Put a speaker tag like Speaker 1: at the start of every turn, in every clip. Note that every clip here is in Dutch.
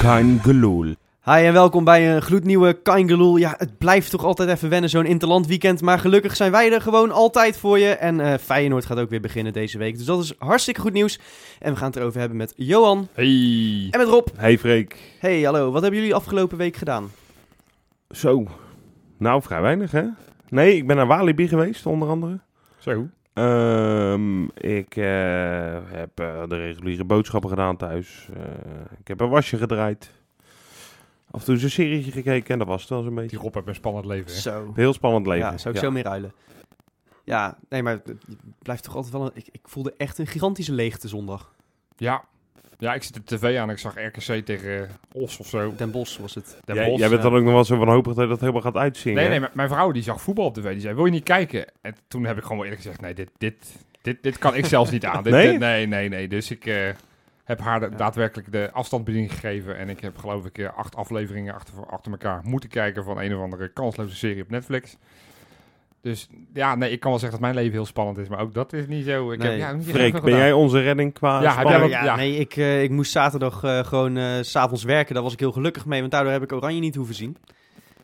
Speaker 1: Kein Geloel.
Speaker 2: Hi en welkom bij een gloednieuwe Kangeloel. Ja, het blijft toch altijd even wennen zo'n interland weekend. Maar gelukkig zijn wij er gewoon altijd voor je. En eh Feyenoord gaat ook weer beginnen deze week. Dus dat is hartstikke goed nieuws. En we gaan het erover hebben met Johan
Speaker 1: Hey.
Speaker 2: en met Rob.
Speaker 1: Hey Freek.
Speaker 2: Hey, hallo. Wat hebben jullie afgelopen week gedaan?
Speaker 1: Zo. Nou, vrij weinig hè? Nee, ik ben naar Walibi geweest, onder andere.
Speaker 3: Zo.
Speaker 1: Ehm, ik eh, heb eh, de reguliere boodschappen gedaan thuis. Eh, ik heb een wasje gedraaid. Af en toe eens een serietje gekeken en dat was het wel zo'n beetje.
Speaker 3: Die Rob heeft een spannend leven. Hè?
Speaker 2: Zo.
Speaker 1: Heel spannend leven.
Speaker 2: Ja, zou ik zo meer ruilen. Ja, nee, maar het blijft toch altijd wel een... Ik, ik voelde echt een gigantische leegte zondag.
Speaker 3: Ja. Ja, ik zit de tv aan. Ik zag RKC tegen eh, Os of zo.
Speaker 2: Den Bosch eh, was het.
Speaker 3: Den
Speaker 1: Jij,
Speaker 3: Bosch.
Speaker 1: jij bent
Speaker 2: ja.
Speaker 1: dan ook nog wel zo wanhopig dat je dat helemaal gaat uitzingen.
Speaker 3: Nee,
Speaker 1: hè?
Speaker 3: nee, mijn- mijn vrouw die zag voetbal op tv. Die zei, wil je niet kijken? En toen heb ik gewoon wel eerlijk gezegd, nee, dit, dit, dit, dit kan ik zelfs niet aan. Dit,
Speaker 1: Nee?
Speaker 3: dit- nee, nee, nee. Dus ik eh, heb haar de-
Speaker 2: Ja.
Speaker 3: daadwerkelijk de afstandsbediening gegeven. En ik heb geloof ik eh, acht afleveringen achter, achter elkaar moeten kijken van een of andere kansloze serie op Netflix. Dus ja, nee, ik kan wel zeggen dat mijn leven heel spannend is. Maar ook dat is niet zo. Ik
Speaker 2: Nee.
Speaker 3: heb, ja, niet heel
Speaker 1: Freek,
Speaker 3: veel
Speaker 1: ben
Speaker 3: gedaan.
Speaker 1: jij onze redding qua
Speaker 3: Ja, heb jij
Speaker 1: spanning?
Speaker 3: wat-
Speaker 2: ja,
Speaker 3: ja.
Speaker 2: nee, ik, eh, ik moest zaterdag eh, gewoon eh, s s'avonds werken. Daar was ik heel gelukkig mee, want daardoor heb ik Oranje niet hoeven zien.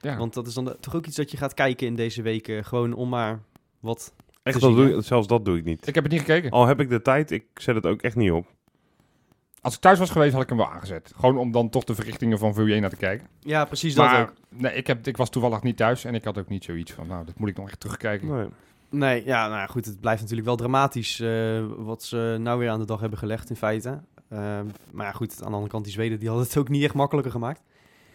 Speaker 3: Ja.
Speaker 2: Want dat is dan de- toch ook iets dat je gaat kijken in deze weken. gewoon om maar wat.
Speaker 1: Echt,
Speaker 2: te
Speaker 1: dat
Speaker 2: zien,
Speaker 1: doe, ik- zelfs dat doe ik niet.
Speaker 3: Ik heb het niet gekeken.
Speaker 1: Al heb ik de tijd, ik zet het ook echt niet op.
Speaker 3: Als ik thuis was geweest, had ik hem wel aangezet. Gewoon om dan toch de verrichtingen van Vujena te kijken.
Speaker 2: Ja, precies
Speaker 3: maar
Speaker 2: dat ook.
Speaker 3: Nee, ik, heb, ik was toevallig niet thuis en ik had ook niet zoiets van, nou, dat moet ik nog echt terugkijken.
Speaker 1: Nee.
Speaker 2: Nee, ja, nou ja, goed. Het blijft natuurlijk wel dramatisch eh, wat ze nou weer aan de dag hebben gelegd, in feite. Ehm, maar ja, goed, aan de andere kant, die Zweden die hadden het ook niet echt makkelijker gemaakt.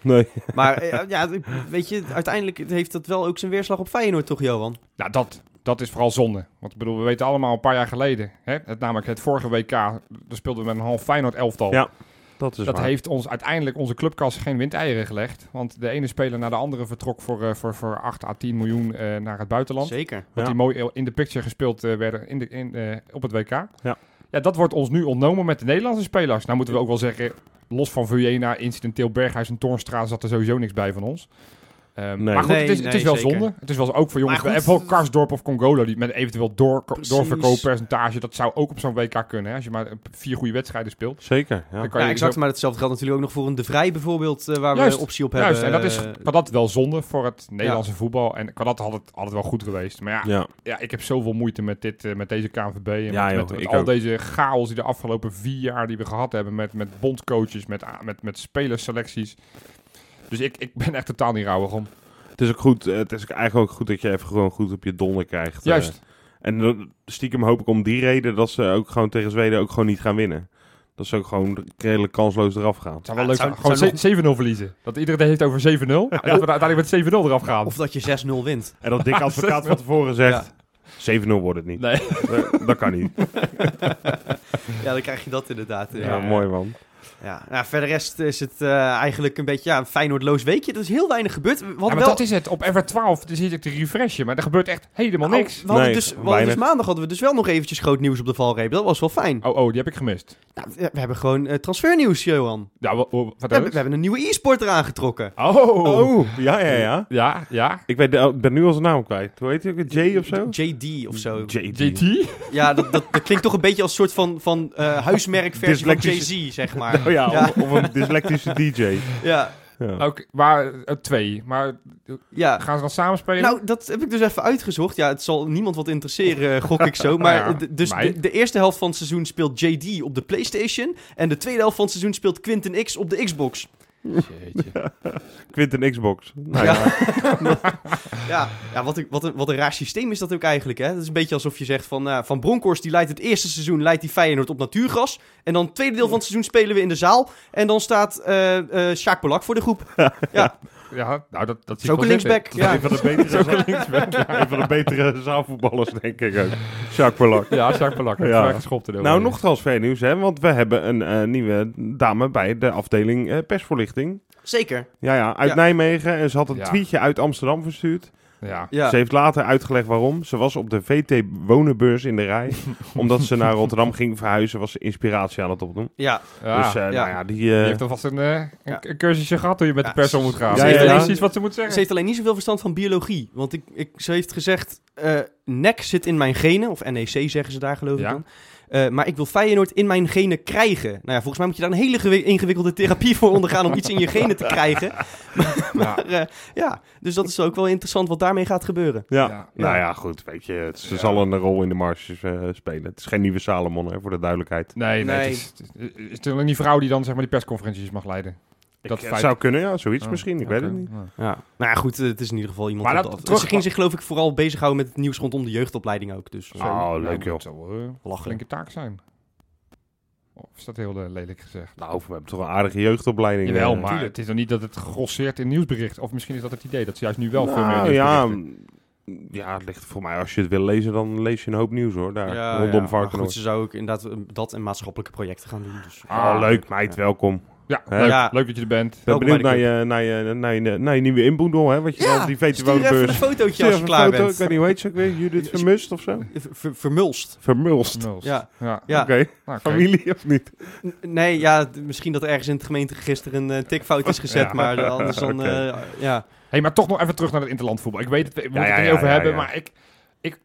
Speaker 1: nee.
Speaker 2: Maar eh, ja, ik- weet je, uiteindelijk heeft dat wel ook zijn weerslag op Feyenoord, toch, Johan?
Speaker 3: Nou, dat, dat is vooral zonde. Want ik bedoel, we weten allemaal een paar jaar geleden, hè, het, namelijk het vorige WK, daar speelden we met een half Feyenoord elftal.
Speaker 1: Ja, Dat is
Speaker 3: dat
Speaker 1: waar.
Speaker 3: heeft ons uiteindelijk onze clubkas geen windeieren gelegd. Want de ene speler naar de andere vertrok voor, eh, voor, voor 8 à 10 miljoen eh, naar het buitenland.
Speaker 2: Zeker.
Speaker 3: Dat
Speaker 1: Ja.
Speaker 3: die mooi in de picture gespeeld eh, werden in de, in, eh, op het WK.
Speaker 1: Ja.
Speaker 3: ja, dat wordt ons nu ontnomen met de Nederlandse spelers. Nou moeten we ook wel zeggen, los van Vujena, incidenteel Berghuis en Toornstra zat er sowieso niks bij van ons. Ehm,
Speaker 1: Nee.
Speaker 3: Maar goed, het is,
Speaker 2: Nee,
Speaker 3: het
Speaker 2: nee,
Speaker 3: is wel
Speaker 2: zeker.
Speaker 3: zonde. Het is wel ook voor jongens.
Speaker 2: Maar
Speaker 3: We
Speaker 2: goed,
Speaker 3: hebben ook
Speaker 2: het-
Speaker 3: Karsdorp of Congolo die met eventueel door,
Speaker 2: Precies.
Speaker 3: doorverkooppercentage. Dat zou ook op zo'n WK kunnen. Hè? Als je maar eh, vier goede wedstrijden speelt.
Speaker 1: Zeker, ja.
Speaker 3: Dan kan
Speaker 2: Ja,
Speaker 3: je dus
Speaker 2: exact.
Speaker 3: zo-
Speaker 2: Maar hetzelfde geldt natuurlijk ook nog voor een De Vrij bijvoorbeeld, eh, waar
Speaker 3: Juist,
Speaker 2: we optie op
Speaker 3: Juist, en
Speaker 2: hebben.
Speaker 3: dat is
Speaker 2: eh,
Speaker 3: kan dat wel zonde voor het Nederlandse voetbal. En kan dat had het, had het wel goed geweest. Maar ja,
Speaker 1: Ja.
Speaker 3: ja, ik heb zoveel moeite met, dit, eh, met deze KNVB. En
Speaker 1: Ja,
Speaker 3: met,
Speaker 1: joh,
Speaker 3: met, met
Speaker 1: ik
Speaker 3: al
Speaker 1: ook.
Speaker 3: deze chaos die de afgelopen vier jaar die we gehad hebben. Met, met bondcoaches, met, a- met, met spelersselecties. Dus ik, ik ben echt totaal niet rauwig om.
Speaker 1: Het is ook goed. eh, Het is ook eigenlijk ook goed dat je even gewoon goed op je donder krijgt. eh.
Speaker 3: Juist.
Speaker 1: en dan stiekem hoop ik om die reden dat ze ook gewoon tegen Zweden ook gewoon niet gaan winnen. Dat ze ook gewoon redelijk kansloos eraf gaan.
Speaker 3: Het zou wel
Speaker 2: Ja,
Speaker 3: leuk
Speaker 2: het zou-
Speaker 3: zijn. Gewoon
Speaker 2: het zou
Speaker 3: ze- 7-0 verliezen. Dat iedereen het heeft over 7-0. En dat we daar uiteindelijk met 7-0 eraf gaan.
Speaker 2: Of dat je 6-0 wint.
Speaker 1: En dat dikke advocaat van tevoren zegt, 7-0 wordt het niet.
Speaker 3: Nee.
Speaker 1: Eh, Dat kan niet.
Speaker 2: Ja, dan krijg je dat inderdaad.
Speaker 1: Ja,
Speaker 2: Ja.
Speaker 1: mooi man.
Speaker 2: Ja. Nou, verder rest is het eh, eigenlijk een beetje ja, een Feyenoordloos weekje. Er is heel weinig gebeurd. We hadden
Speaker 3: Ja, maar
Speaker 2: wel...
Speaker 3: dat is het. Op FR12 dan zit ik te refreshen. Maar er gebeurt echt helemaal
Speaker 2: Nou,
Speaker 3: niks.
Speaker 2: We hadden
Speaker 1: Nee,
Speaker 2: dus, we hadden dus
Speaker 1: weinig.
Speaker 2: maandag hadden we dus wel nog eventjes groot nieuws op de valreep. Dat was wel fijn.
Speaker 3: Oh, oh, die heb ik gemist.
Speaker 2: Nou, we hebben gewoon eh, transfernieuws, Johan.
Speaker 3: Ja, wa- wa-
Speaker 2: We
Speaker 3: vertel
Speaker 2: hebben,
Speaker 3: eens.
Speaker 2: we hebben een nieuwe e-sporter aangetrokken.
Speaker 3: Oh.
Speaker 1: Oh, ja, ja, ja.
Speaker 3: Ja, ja.
Speaker 1: Ik weet, ik ben nu al zijn naam kwijt. Hoe heet hij ook? Jay of zo?
Speaker 2: JD of zo.
Speaker 3: JT?
Speaker 2: Ja, dat, dat, dat klinkt toch een beetje als een soort van, van eh huismerkversie van
Speaker 1: Dyslectische-
Speaker 2: Jay-Z, zeg maar.
Speaker 1: Oh ja,
Speaker 2: Ja.
Speaker 1: Of, of een dyslectische DJ.
Speaker 2: Ja,
Speaker 1: Ja.
Speaker 3: Oké, maar eh, twee. Maar
Speaker 2: ja.
Speaker 3: gaan ze dan samen spelen?
Speaker 2: Nou, dat heb ik dus even uitgezocht. Ja, het zal niemand wat interesseren, eh, gok ik zo. Maar
Speaker 3: Ja,
Speaker 2: eh, d- dus
Speaker 3: mij.
Speaker 2: de, de eerste helft van het seizoen speelt JD op de PlayStation. En de tweede helft van het seizoen speelt Quinten X op de Xbox.
Speaker 1: Quinten Xbox. Nou
Speaker 2: Ja.
Speaker 1: ja.
Speaker 2: Ja, ja wat, een- wat, een, wat een raar systeem is dat ook eigenlijk. Hè? Dat is een beetje alsof je zegt van, eh, van Bronkhorst, die leidt het eerste seizoen leidt die Feyenoord op natuurgas. En dan het tweede deel van het seizoen spelen we in de zaal. En dan staat eh eh Sjaak Polak voor de groep.
Speaker 3: Ja, nou, dat, dat
Speaker 2: is ook een linksback.
Speaker 1: Ja.
Speaker 2: Ja.
Speaker 1: Een van de betere, een van de betere zaalvoetballers, denk ik ook. Jacques Polak.
Speaker 3: Ja, Jacques Palak.
Speaker 1: Ja.
Speaker 3: Ja. Geschopt erover.
Speaker 1: Nou, nog transfernieuws, hè? Want we hebben een eh, nieuwe dame bij de afdeling eh, persvoorlichting.
Speaker 2: Zeker.
Speaker 1: Ja, ja, uit
Speaker 2: Ja.
Speaker 1: Nijmegen. En ze had een
Speaker 3: Ja.
Speaker 1: tweetje uit Amsterdam verstuurd.
Speaker 3: Ja.
Speaker 2: Ja.
Speaker 1: Ze heeft later uitgelegd waarom. Ze was op de VT Wonenbeurs in de rij. omdat ze naar Rotterdam ging verhuizen, was ze inspiratie aan het opdoen.
Speaker 2: Ja,
Speaker 3: Ja.
Speaker 1: Dus, eh,
Speaker 2: Ja.
Speaker 1: nou ja, die... eh,
Speaker 3: je heeft alvast een, eh, een,
Speaker 2: Ja.
Speaker 3: een cursusje gehad hoe je met
Speaker 2: Ja,
Speaker 3: de pers om
Speaker 2: ze-
Speaker 3: moet gaan.
Speaker 1: ze
Speaker 3: Ja,
Speaker 1: heeft alleen-
Speaker 3: precies wat ze moet
Speaker 2: Ze
Speaker 3: zeggen.
Speaker 2: heeft alleen niet zoveel verstand van biologie. Want ik, ik, ze heeft gezegd, eh nek zit in mijn genen. Of NEC E zeggen ze daar geloof ik
Speaker 3: Ja.
Speaker 2: dan. Eh, maar ik wil Feyenoord in mijn genen krijgen. Nou ja, volgens mij moet je daar een hele gewi- ingewikkelde therapie voor ondergaan om iets in je genen te krijgen.
Speaker 3: Ja.
Speaker 2: Maar eh, ja, dus dat is ook wel interessant wat daarmee gaat gebeuren.
Speaker 1: Ja.
Speaker 3: Ja.
Speaker 1: nou ja, goed. Weet je, het- ze
Speaker 3: Ja.
Speaker 1: zal een rol in de marges eh, spelen. Het is geen nieuwe Salomon, hè, voor de duidelijkheid.
Speaker 3: Nee, nee.
Speaker 2: Nee.
Speaker 3: Het is, het is- het is natuurlijk die vrouw die dan zeg maar die persconferenties mag leiden.
Speaker 1: Dat
Speaker 3: Dat
Speaker 1: het
Speaker 3: feit-
Speaker 1: eh, zou kunnen, ja, zoiets
Speaker 3: Oh,
Speaker 1: misschien. Ik
Speaker 3: oké.
Speaker 1: weet het niet.
Speaker 3: Ja.
Speaker 2: Ja. Nou ja, goed, eh, het is in ieder geval iemand.
Speaker 3: Maar
Speaker 2: op
Speaker 3: dat-
Speaker 2: de af-
Speaker 3: terug-
Speaker 2: Ze ging zich geloof ik vooral bezighouden met het nieuws rondom de jeugdopleiding ook. Dus
Speaker 3: Nou,
Speaker 1: Ah. Oh, leuk,
Speaker 3: maar
Speaker 1: joh.
Speaker 3: Het zal wel eh, een
Speaker 2: lachen.
Speaker 3: flinke taak zijn. Of is dat heel eh, lelijk gezegd?
Speaker 1: Nou, we hebben toch een aardige jeugdopleiding.
Speaker 3: Jawel,
Speaker 1: eh.
Speaker 3: maar het is dan niet dat het grosseert in nieuwsberichten. Of misschien is dat het idee dat ze juist nu wel veel meer
Speaker 1: Nou, ja,
Speaker 3: nieuwsberichten...
Speaker 1: mm, ja, het ligt voor mij. Als je het wil lezen, dan lees je een hoop nieuws hoor. Daar rondom
Speaker 2: maar
Speaker 1: Varkenoord.
Speaker 2: goed, ze zou ook inderdaad eh, dat en maatschappelijke projecten gaan doen. Dus.
Speaker 3: Ah,
Speaker 1: oh, leuk meid,
Speaker 2: Ja.
Speaker 1: welkom. Ik
Speaker 3: Ja,
Speaker 1: Hè?
Speaker 3: leuk,
Speaker 2: Ja.
Speaker 3: leuk dat je er bent.
Speaker 1: ben
Speaker 2: Welkom
Speaker 1: benieuwd naar
Speaker 2: bij de
Speaker 1: je, naar, je, naar, je, naar je nieuwe inboedel, hè? Wat je dan, die
Speaker 2: stuur even een
Speaker 1: VTW-beurs.
Speaker 2: fotootje als je klaar
Speaker 1: Ik
Speaker 2: bent.
Speaker 1: weet niet hoe heet ze ook weer. Judith Vermust of zo?
Speaker 2: Ver- ver- vermulst.
Speaker 1: Vermulst.
Speaker 3: Nulst.
Speaker 2: Ja.
Speaker 3: ja.
Speaker 2: Ja.
Speaker 1: Oké,
Speaker 3: Nou, kijk.
Speaker 1: familie of niet?
Speaker 2: N- Nee, ja, d- misschien dat ergens in het gemeenteregister een eh, tikfout is gezet,
Speaker 1: Ja.
Speaker 2: maar eh, anders dan...
Speaker 1: Oké.
Speaker 2: eh, ja.
Speaker 3: Hey, maar toch nog even terug naar het interlandvoetbal. Ik weet het, we moeten
Speaker 1: ja,
Speaker 3: het er niet
Speaker 1: ja,
Speaker 3: over
Speaker 1: ja,
Speaker 3: hebben,
Speaker 1: ja.
Speaker 3: maar ik, ik,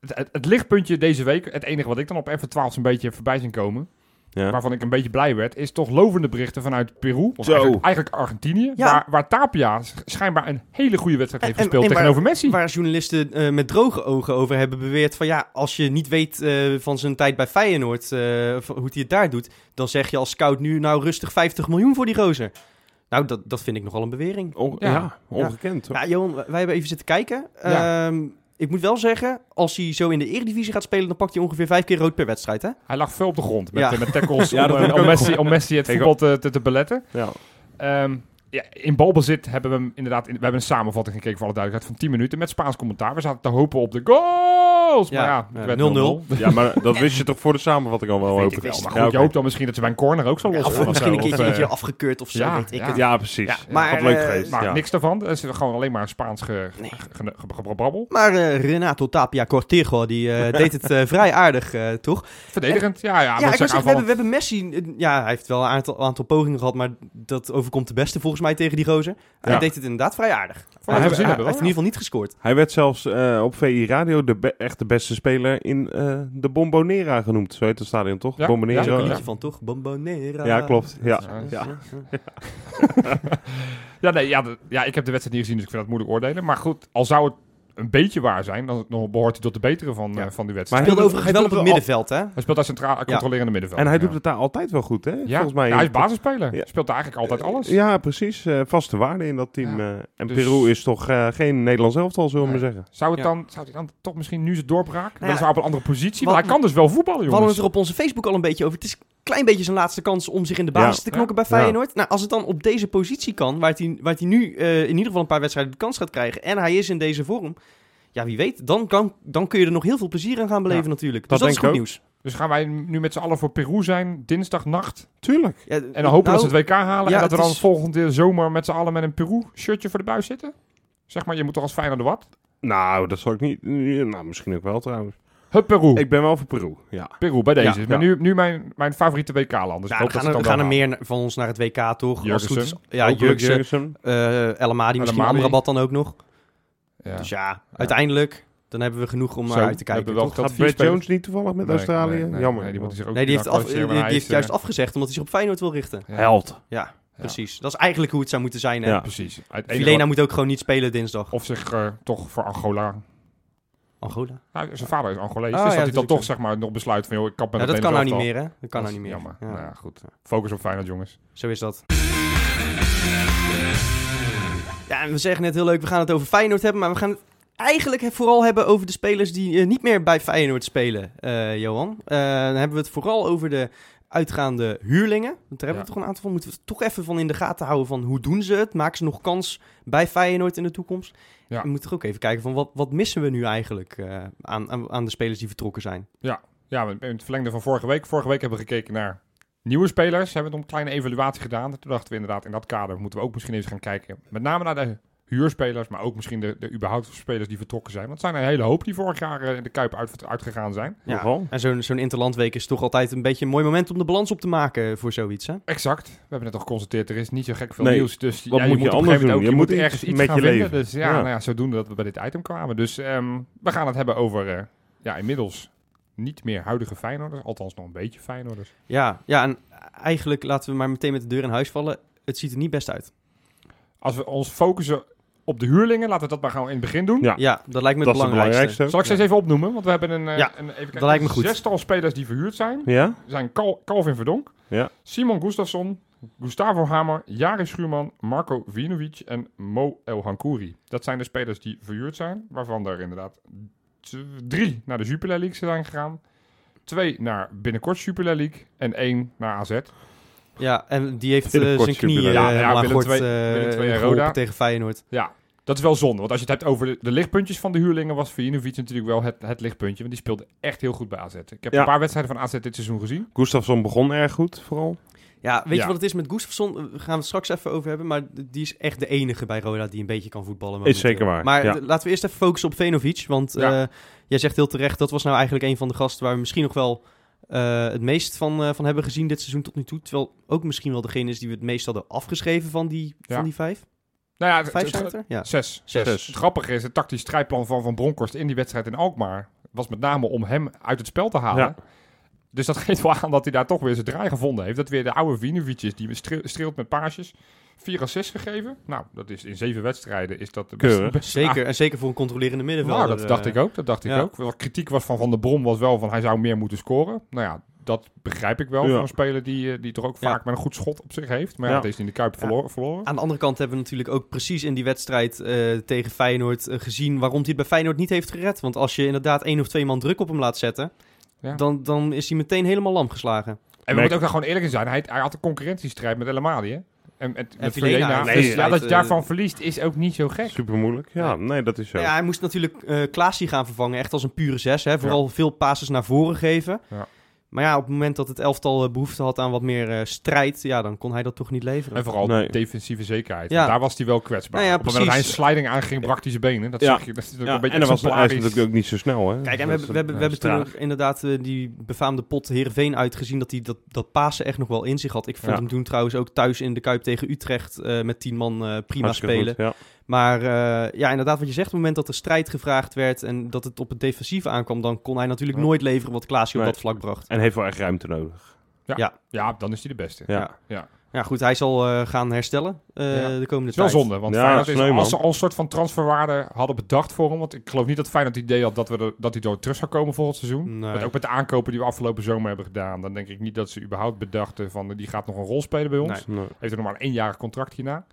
Speaker 3: het, het, het lichtpuntje deze week, het enige wat ik dan op F12 een beetje heb voorbij zien komen,
Speaker 1: Ja.
Speaker 3: waarvan ik een beetje blij werd, is toch lovende berichten vanuit Peru, of
Speaker 1: Zo.
Speaker 3: eigenlijk, eigenlijk Argentinië,
Speaker 2: Ja.
Speaker 3: waar, waar Tapia sch- schijnbaar een hele goede wedstrijd heeft
Speaker 2: En- en-
Speaker 3: gespeeld
Speaker 2: en waar-
Speaker 3: tegenover Messi.
Speaker 2: Waar journalisten eh, met droge ogen over hebben beweerd van ja, als je niet weet eh, van zijn tijd bij Feyenoord, eh, van hoe hij het daar doet, dan zeg je als scout nu nou rustig 50 miljoen voor die gozer. Nou, dat, dat vind ik nogal een bewering.
Speaker 1: On-
Speaker 3: Ja.
Speaker 1: ja. ongekend. hoor.
Speaker 2: Ja, Johan, wij hebben even zitten kijken.
Speaker 3: Ja.
Speaker 2: Ehm, ik moet wel zeggen, als hij zo in de eredivisie gaat spelen, dan pakt hij ongeveer vijf keer rood per wedstrijd, hè?
Speaker 3: Hij lag veel op de grond met,
Speaker 2: Ja.
Speaker 3: eh, met tackles
Speaker 1: Ja, dat
Speaker 3: om,
Speaker 1: heb
Speaker 3: eh,
Speaker 1: ik
Speaker 3: om
Speaker 1: ook
Speaker 3: Messi, om Messi het
Speaker 1: Ik
Speaker 3: voetbal te, te, te beletten.
Speaker 1: Ja.
Speaker 3: Ehm, ja, in balbezit hebben we hem inderdaad, in- we hebben een samenvatting gekeken voor alle duidelijkheid van 10 minuten met Spaans commentaar. We zaten te hopen op de goals,
Speaker 2: Ja,
Speaker 3: maar ja,
Speaker 2: ja,
Speaker 3: het werd
Speaker 2: 0-0.
Speaker 3: 0-0.
Speaker 1: Ja, maar dat wist je toch voor de samenvatting al wel,
Speaker 3: Weet
Speaker 1: hoop
Speaker 3: ik
Speaker 1: ik.
Speaker 3: wel, maar
Speaker 1: Ja,
Speaker 3: goed, je
Speaker 1: oké.
Speaker 3: hoopt dan misschien dat ze bij een corner ook zo
Speaker 2: Ja,
Speaker 3: los
Speaker 2: of misschien een keertje,
Speaker 3: of,
Speaker 2: een
Speaker 3: eh,
Speaker 2: keer afgekeurd of zo,
Speaker 3: ja,
Speaker 2: weet ik
Speaker 3: ja.
Speaker 2: het.
Speaker 1: Ja, precies.
Speaker 3: Ja,
Speaker 1: maar,
Speaker 2: maar,
Speaker 1: Had leuk
Speaker 2: eh,
Speaker 1: geweest.
Speaker 3: Maar
Speaker 1: ja.
Speaker 3: niks daarvan. Het is gewoon alleen maar Spaans ge, ge- ge- ge- gebrabbel.
Speaker 2: Maar eh, Renato Tapia Cortijo, die eh, deed het eh, vrij aardig, eh, toch?
Speaker 3: Verdedigend, ja, ja.
Speaker 2: Ja,
Speaker 3: mensen
Speaker 2: ik wou zeggen, we hebben,
Speaker 3: aanvallend.
Speaker 2: we hebben Messi... eh, Ja, hij heeft wel een aantal, aantal pogingen gehad, maar dat overkomt de beste volgens mij tegen die gozer. Hij
Speaker 1: Ja.
Speaker 2: deed het inderdaad vrij aardig.
Speaker 3: wat we
Speaker 2: hij,
Speaker 3: gezien
Speaker 2: hij-
Speaker 3: hebben,
Speaker 2: hij heeft in
Speaker 3: hoor.
Speaker 2: ieder geval niet gescoord.
Speaker 1: Hij werd zelfs eh, op VI Radio de be- echt de beste speler in eh, de Bombonera genoemd. Zo heet het stadion, toch?
Speaker 3: Ja,
Speaker 1: Bombonera.
Speaker 2: Daar is ook een
Speaker 1: Ja,
Speaker 2: liedje van, toch? Bombonera.
Speaker 1: klopt. Ja.
Speaker 3: Ja.
Speaker 1: Ja.
Speaker 3: Ja, nee, ja, de- ja, ik heb de wedstrijd niet gezien, dus ik vind dat moeilijk oordelen. Maar goed, al zou het een beetje waar zijn, dan nog behoort hij tot de betere van,
Speaker 2: Ja.
Speaker 3: eh, van die wedstrijd.
Speaker 2: Hij
Speaker 1: Maar
Speaker 2: speelde
Speaker 1: doet-
Speaker 2: overigens wel
Speaker 1: doet wel
Speaker 2: op het
Speaker 1: al-
Speaker 2: middenveld, hè?
Speaker 3: Hij speelt als centraal controlerende middenveld.
Speaker 1: En hij
Speaker 3: ja.
Speaker 1: doet het daar altijd wel goed, hè?
Speaker 3: Ja,
Speaker 1: Volgens mij.
Speaker 3: ja, hij is basisspeler.
Speaker 1: Ja.
Speaker 3: Speelt eigenlijk altijd alles.
Speaker 1: Ja, precies. Eh, vaste waarde in dat team. eh. en
Speaker 3: Dus-
Speaker 1: Peru is toch eh, geen Nederlands elftal, zullen we
Speaker 3: Nee.
Speaker 1: maar zeggen.
Speaker 3: Zou, het
Speaker 2: Ja.
Speaker 3: Dan, zou hij dan toch misschien nu zijn doorbraak?
Speaker 2: Nou ja,
Speaker 3: dan is hij op een andere positie,
Speaker 2: wat-
Speaker 3: maar hij kan dus wel
Speaker 2: We
Speaker 3: voetballen,
Speaker 2: hadden het
Speaker 3: jongens.
Speaker 2: er op onze Facebook al een beetje over. Het is een klein beetje zijn laatste kans om zich in de basis
Speaker 1: Ja.
Speaker 2: te knokken bij
Speaker 1: Ja.
Speaker 2: Feyenoord. Nou, als het dan op deze positie kan, waar hij, waar hij nu eh, in ieder geval een paar wedstrijden de kans gaat krijgen... en hij is in deze vorm... Ja, wie weet. Dan, kan, dan kun je er nog heel veel plezier aan gaan beleven natuurlijk.
Speaker 1: Dat
Speaker 2: Dus dat, is
Speaker 1: denk ik
Speaker 2: goed
Speaker 1: ook.
Speaker 2: nieuws.
Speaker 3: Dus gaan wij nu met z'n allen voor Peru zijn, dinsdagnacht.
Speaker 1: Tuurlijk.
Speaker 2: Ja,
Speaker 3: En dan hopen
Speaker 2: nou,
Speaker 3: we dat ze het WK halen
Speaker 2: ja,
Speaker 3: en dat we
Speaker 2: het
Speaker 3: dan
Speaker 2: is-
Speaker 3: volgende zomer met z'n allen met een Peru-shirtje voor de buis zitten. Zeg maar, je moet toch als Feyenoord wat?
Speaker 1: Nou, dat zal ik niet. eh, Nou, misschien ook wel trouwens.
Speaker 3: Hup Peru.
Speaker 1: Ik ben wel voor Peru. Ja.
Speaker 3: Peru, bij deze.
Speaker 1: Ja,
Speaker 3: maar
Speaker 1: ja.
Speaker 3: nu, nu mijn, mijn favoriete WK-land. Dus ik
Speaker 2: Nou,
Speaker 3: hoop
Speaker 2: gaan
Speaker 3: dat
Speaker 2: er,
Speaker 3: ze het
Speaker 2: gaan
Speaker 3: dan
Speaker 2: er
Speaker 3: wel
Speaker 2: meer na- van ons naar het WK, toch? Als het goed is,
Speaker 3: Jurgensen.
Speaker 2: ja,
Speaker 1: Hopelijk
Speaker 2: Jurkse,
Speaker 1: Jurgensen.
Speaker 2: eh El Amadi misschien,
Speaker 3: Amadi.
Speaker 2: Amrabat dan ook nog.
Speaker 3: halen. Ja.
Speaker 2: Dus ja, uiteindelijk, dan hebben we genoeg om
Speaker 3: Zo,
Speaker 2: naar uit te kijken.
Speaker 3: hebben we wel
Speaker 2: toch?
Speaker 3: geteld
Speaker 1: Gaat
Speaker 3: vier
Speaker 1: Brad
Speaker 3: spelers.
Speaker 1: Jones niet toevallig met
Speaker 3: Nee,
Speaker 1: Australië?
Speaker 3: nee, nee,
Speaker 1: Jammer.
Speaker 3: nee, die moet zich ook
Speaker 2: Nee, die heeft,
Speaker 3: niet
Speaker 2: af,
Speaker 3: kwalificeren,
Speaker 2: die
Speaker 3: maar hij
Speaker 2: heeft
Speaker 3: is,
Speaker 2: juist
Speaker 3: eh,
Speaker 2: afgezegd omdat hij zich op Feyenoord wil richten.
Speaker 3: ja,
Speaker 1: Held.
Speaker 2: Ja, precies. Dat is eigenlijk hoe het zou moeten zijn. Hè?
Speaker 1: Ja.
Speaker 3: Precies. Het enige
Speaker 2: Filena moet ook gewoon niet spelen dinsdag.
Speaker 3: wat- Of zich eh, toch voor Angola...
Speaker 2: Angola.
Speaker 3: Nou, zijn vader is Angolees,
Speaker 2: Ah,
Speaker 3: dus
Speaker 2: ja,
Speaker 3: dat hij dan
Speaker 2: natuurlijk
Speaker 3: toch
Speaker 2: zo.
Speaker 3: zeg maar, nog besluit van... Joh, ik kap met
Speaker 2: Ja,
Speaker 3: het
Speaker 2: dat kan nou niet
Speaker 3: Nederlands
Speaker 2: meer, hè? Dat kan nou niet
Speaker 3: elftal.
Speaker 2: meer. Ja,
Speaker 3: Jammer. Nou ja, goed. Focus op Feyenoord, jongens.
Speaker 2: Zo is dat. Ja, en we zeggen net heel leuk, we gaan het over Feyenoord hebben, maar we gaan het eigenlijk vooral hebben over de spelers die eh, niet meer bij Feyenoord spelen, eh, Johan. Eh, dan hebben we het vooral over de uitgaande huurlingen. Want daar hebben
Speaker 3: Ja.
Speaker 2: we toch een aantal van. Moeten we toch even van in de gaten houden van hoe doen ze het? Maken ze nog kans bij Feyenoord in de toekomst?
Speaker 3: Ja.
Speaker 2: We moeten toch ook even kijken van wat, wat missen we nu eigenlijk eh, aan, aan, aan de spelers die vertrokken zijn.
Speaker 3: Ja, we- in het verlengde van vorige week. Vorige week hebben we gekeken naar nieuwe spelers. Hebben we nog een kleine evaluatie gedaan. Toen dachten we inderdaad, in dat kader moeten we ook misschien eens gaan kijken. Met name naar de huurspelers, maar ook misschien de, de überhaupt spelers die vertrokken zijn. Want het zijn een hele hoop die vorig jaar eh, in de Kuip uit, uitgegaan zijn.
Speaker 1: Nogal.
Speaker 2: En zo'n zo'n interlandweek is toch altijd een beetje een mooi moment om de balans op te maken voor zoiets, hè?
Speaker 3: Exact. We hebben net al geconstateerd, er is niet zo gek veel
Speaker 1: Nee,
Speaker 3: nieuws. Dus
Speaker 1: wat
Speaker 3: ja,
Speaker 1: moet je
Speaker 3: op
Speaker 1: anders
Speaker 3: een gegeven moment
Speaker 1: doen?
Speaker 3: ook-
Speaker 1: Je moet
Speaker 3: ergens
Speaker 1: iets
Speaker 3: iets
Speaker 1: met
Speaker 3: gaan
Speaker 1: je
Speaker 3: vinden.
Speaker 1: leven.
Speaker 3: Dus ja,
Speaker 1: Ja.
Speaker 3: Nou ja, zodoende dat we bij dit item kwamen. Dus ehm, we gaan het hebben over eh, ja, inmiddels niet meer huidige Feyenoorders. Althans nog een beetje Feyenoorders.
Speaker 2: Ja, ja, en eigenlijk laten we maar meteen met de deur in huis vallen. Het ziet er niet best uit.
Speaker 3: Als we ons focussen op de huurlingen, laten we dat maar gewoon in het begin doen.
Speaker 1: Ja,
Speaker 2: Ja, dat lijkt me
Speaker 1: Ah. dat is het
Speaker 2: het belangrijkste.
Speaker 1: belangrijkste.
Speaker 3: Zal ik ze eens even opnoemen? Want we hebben een, eh,
Speaker 2: Ja,
Speaker 3: een even kijken,
Speaker 2: dat lijkt me goed.
Speaker 3: zestal spelers die verhuurd zijn.
Speaker 1: Ja?
Speaker 3: zijn Cal Calvin Verdonk,
Speaker 1: Ja.
Speaker 3: Simon Gustafsson, Gustavo Hamer, Jari Schuurman, Marco Vinovic en Mo El Hankouri. Dat zijn de spelers die verhuurd zijn, waarvan er inderdaad t- drie naar de Jupiler League zijn gegaan. Twee naar binnenkort Jupiler League en één naar AZ.
Speaker 2: Ja, en die heeft
Speaker 1: Hele
Speaker 2: eh,
Speaker 1: kort
Speaker 2: zijn knieën
Speaker 1: jubileum.
Speaker 2: eh,
Speaker 1: Ja,
Speaker 3: ja,
Speaker 2: helemaal
Speaker 3: Willem
Speaker 2: gort
Speaker 3: II-
Speaker 2: eh,
Speaker 3: Willem II en
Speaker 2: geholpen
Speaker 3: Roda.
Speaker 2: tegen Feyenoord.
Speaker 3: Ja, dat is wel zonde. Want als je het hebt over de, de lichtpuntjes van de huurlingen, was Vinovic natuurlijk wel het, het lichtpuntje. Want die speelde echt heel goed bij AZ. Ik heb
Speaker 1: Ja.
Speaker 3: een paar wedstrijden van AZ dit seizoen gezien.
Speaker 1: Gustafsson begon erg goed, vooral.
Speaker 2: Ja, weet
Speaker 3: Ja.
Speaker 2: je wat het is met Gustafsson? Daar gaan we het straks even over hebben. Maar die is echt de enige bij Roda die een beetje kan voetballen. momenteel.
Speaker 3: eh,
Speaker 1: zeker waar,
Speaker 2: Maar
Speaker 1: ja.
Speaker 2: d- laten we eerst even focussen op Venovic. Want
Speaker 3: Ja.
Speaker 2: eh, jij zegt heel terecht, dat was nou eigenlijk een van de gasten waar we misschien nog wel eh, het meest van, eh, van hebben gezien dit seizoen tot nu toe. Terwijl ook misschien wel degene is die we het meest hadden afgeschreven van die,
Speaker 3: Ja.
Speaker 2: van die vijf.
Speaker 3: Nou ja, het-
Speaker 2: Vijf
Speaker 3: het-
Speaker 2: zijn Eh, het er? Ja.
Speaker 3: Zes.
Speaker 2: Zes.
Speaker 3: Zes. Het grappige is, het tactisch strijdplan van Van Bronkhorst in die wedstrijd in Alkmaar... was met name om hem uit het spel te halen.
Speaker 1: Ja.
Speaker 3: Dus dat geeft wel aan dat hij daar toch weer zijn draai gevonden heeft. Dat weer de oude Vinovic is, die streel- streelt met paasjes. 4 assists gegeven. Nou, dat is in zeven wedstrijden is dat de beste.
Speaker 1: Keurig.
Speaker 3: beste-
Speaker 2: Zeker, en zeker voor een controlerende
Speaker 3: Ah,
Speaker 2: middenvelder.
Speaker 3: nou, dat dacht
Speaker 2: eh.
Speaker 3: ik ook. Dat dacht ik
Speaker 2: ja.
Speaker 3: ook. Wat kritiek was van Van der Brom was wel van hij zou meer moeten scoren. Nou ja, dat begrijp ik wel.
Speaker 1: Ja.
Speaker 3: Van een speler die, eh, die toch ook
Speaker 2: Ja.
Speaker 3: vaak maar een goed schot op zich heeft. Maar ja,
Speaker 1: Ja.
Speaker 3: deze in de Kuip
Speaker 2: Ja.
Speaker 3: verloor- verloren.
Speaker 2: Aan de andere kant hebben we natuurlijk ook precies in die wedstrijd eh, tegen Feyenoord eh, gezien waarom hij het bij Feyenoord niet heeft gered. Want als je inderdaad één of twee man druk op hem laat zetten,
Speaker 3: Ja.
Speaker 2: dan, dan is hij meteen helemaal lam geslagen.
Speaker 3: En we
Speaker 1: Merk-
Speaker 3: moeten ook daar gewoon eerlijk in zijn. Hij, hij had een concurrentiestrijd met El Amadi, hè? En met, met
Speaker 2: Vilena.
Speaker 3: Vilena.
Speaker 1: Nee,
Speaker 3: Dus
Speaker 1: ja.
Speaker 3: ja, dat je
Speaker 2: Eh,
Speaker 3: daarvan verliest is ook niet zo gek.
Speaker 1: Super moeilijk. Ja,
Speaker 2: Ja.
Speaker 1: nee, dat is zo.
Speaker 2: Nou Ja, hij moest natuurlijk eh Klaasie gaan vervangen, echt als een pure zes. Hè? Vooral veel passes naar voren geven.
Speaker 3: Ja.
Speaker 2: Maar ja, op het moment dat het elftal eh, behoefte had aan wat meer eh, strijd, ja, dan kon hij dat toch niet leveren.
Speaker 3: En vooral
Speaker 1: Nee.
Speaker 3: defensieve zekerheid.
Speaker 2: Ja.
Speaker 3: Want Daar was hij wel kwetsbaar.
Speaker 2: Nou ja,
Speaker 3: Op het moment dat hij een
Speaker 2: precies.
Speaker 3: sliding aanging, brak hij zijn benen. Dat
Speaker 1: Ja.
Speaker 3: zag je. Dat is natuurlijk
Speaker 1: Ja,
Speaker 3: een beetje
Speaker 1: en dat was hij is
Speaker 3: exemplarisch.
Speaker 1: natuurlijk ook niet zo snel, hè?
Speaker 2: Kijk, en
Speaker 1: Dat
Speaker 2: we hebben,
Speaker 1: is-
Speaker 2: we hebben, we
Speaker 1: dat
Speaker 2: hebben
Speaker 1: is
Speaker 2: toen
Speaker 1: traag.
Speaker 2: ook inderdaad eh, die befaamde pot Heerenveen uitgezien... dat hij dat, dat Pasen echt nog wel in zich had. Ik vond
Speaker 1: Ja.
Speaker 2: hem toen trouwens ook thuis in de Kuip tegen Utrecht... eh, met tien man eh, prima
Speaker 1: Hartstikke
Speaker 2: spelen.
Speaker 1: goed, ja.
Speaker 2: Maar eh, ja, inderdaad wat je zegt... op het moment dat er strijd gevraagd werd... en dat het op het defensief aankwam... dan kon hij natuurlijk
Speaker 3: Ja.
Speaker 2: nooit leveren wat Klaasje op
Speaker 1: Nee.
Speaker 2: dat vlak bracht.
Speaker 1: En heeft wel echt ruimte nodig.
Speaker 3: Ja, dan is hij de beste.
Speaker 1: Ja.
Speaker 2: Ja. Ja, goed, hij zal eh, gaan herstellen eh,
Speaker 3: Ja.
Speaker 2: de komende
Speaker 3: Het is
Speaker 2: tijd.
Speaker 3: wel zonde, want
Speaker 1: Ja,
Speaker 3: Feyenoord
Speaker 1: dat
Speaker 3: is,
Speaker 1: is sneu,
Speaker 3: als
Speaker 1: man.
Speaker 3: ze al een soort van transferwaarde hadden bedacht voor hem... want ik geloof niet dat Feyenoord het idee had dat, we er- dat hij door terug zou komen volgend seizoen.
Speaker 2: Nee.
Speaker 3: Want ook met de aankopen die we afgelopen zomer hebben gedaan... dan denk ik niet dat ze überhaupt bedachten van... eh, die gaat nog een rol spelen bij ons.
Speaker 2: Nee.
Speaker 1: Nee.
Speaker 3: Heeft er nog maar een eenjarig contract hierna.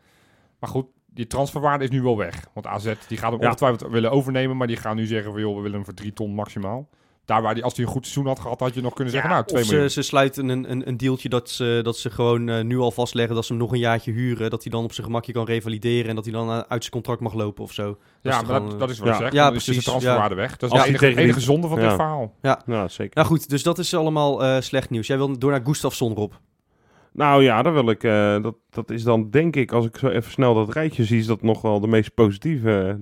Speaker 3: Maar goed, die transferwaarde is nu wel weg. Want AZ die gaat hem
Speaker 1: Ja.
Speaker 3: ongetwijfeld willen overnemen. Maar die gaan nu zeggen van joh, we willen hem voor drie ton maximaal. Daar waar die, als hij een goed seizoen had gehad, had je nog kunnen zeggen, nou, twee
Speaker 2: of ze,
Speaker 3: miljoen.
Speaker 2: ze sluiten een, een, een deeltje dat ze, dat ze gewoon eh, nu al vastleggen dat ze hem nog een jaartje huren. Dat hij dan op zijn gemakje kan revalideren en dat hij dan eh, uit zijn contract mag lopen of zo. is
Speaker 3: Ja,
Speaker 2: toch
Speaker 3: maar
Speaker 2: wel,
Speaker 3: dat,
Speaker 2: eh,
Speaker 3: dat is wat
Speaker 1: ja.
Speaker 3: ik zeg.
Speaker 2: Ja,
Speaker 3: Dan is dus de
Speaker 2: precies,
Speaker 3: transferwaarde weg. Dat is
Speaker 1: Als
Speaker 3: de
Speaker 1: hij
Speaker 3: enige,
Speaker 1: tegen die-
Speaker 3: enige zonde van
Speaker 1: Ja.
Speaker 3: dit verhaal.
Speaker 1: Ja, zeker.
Speaker 2: Nou goed, dus dat is allemaal eh, slecht nieuws. Jij wil door naar Gustafsson, Rob.
Speaker 1: Nou ja, dan wil ik, eh, dat, dat is dan denk ik, als ik zo even snel dat rijtje zie, is dat nog wel de meest positieve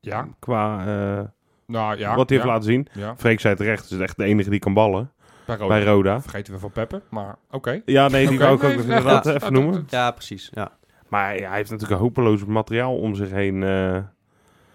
Speaker 3: Ja,
Speaker 1: qua eh,
Speaker 3: nou ja.
Speaker 1: wat hij
Speaker 3: ja,
Speaker 1: heeft laten zien.
Speaker 3: ja.
Speaker 1: Freek zei terecht, is echt de enige die kan ballen
Speaker 3: Bij Roda.
Speaker 1: bij Roda.
Speaker 3: Vergeten we van Peppe, maar oké.
Speaker 1: Ja, nee, die
Speaker 3: Oh,
Speaker 1: wou
Speaker 3: Oké.
Speaker 1: ik ook
Speaker 3: Nee,
Speaker 1: nog
Speaker 3: nee,
Speaker 1: inderdaad
Speaker 3: dat-
Speaker 1: even
Speaker 3: dat-
Speaker 1: noemen.
Speaker 2: Ja, precies. Ja.
Speaker 1: Maar ja, hij heeft natuurlijk hopeloos materiaal om zich heen. eh,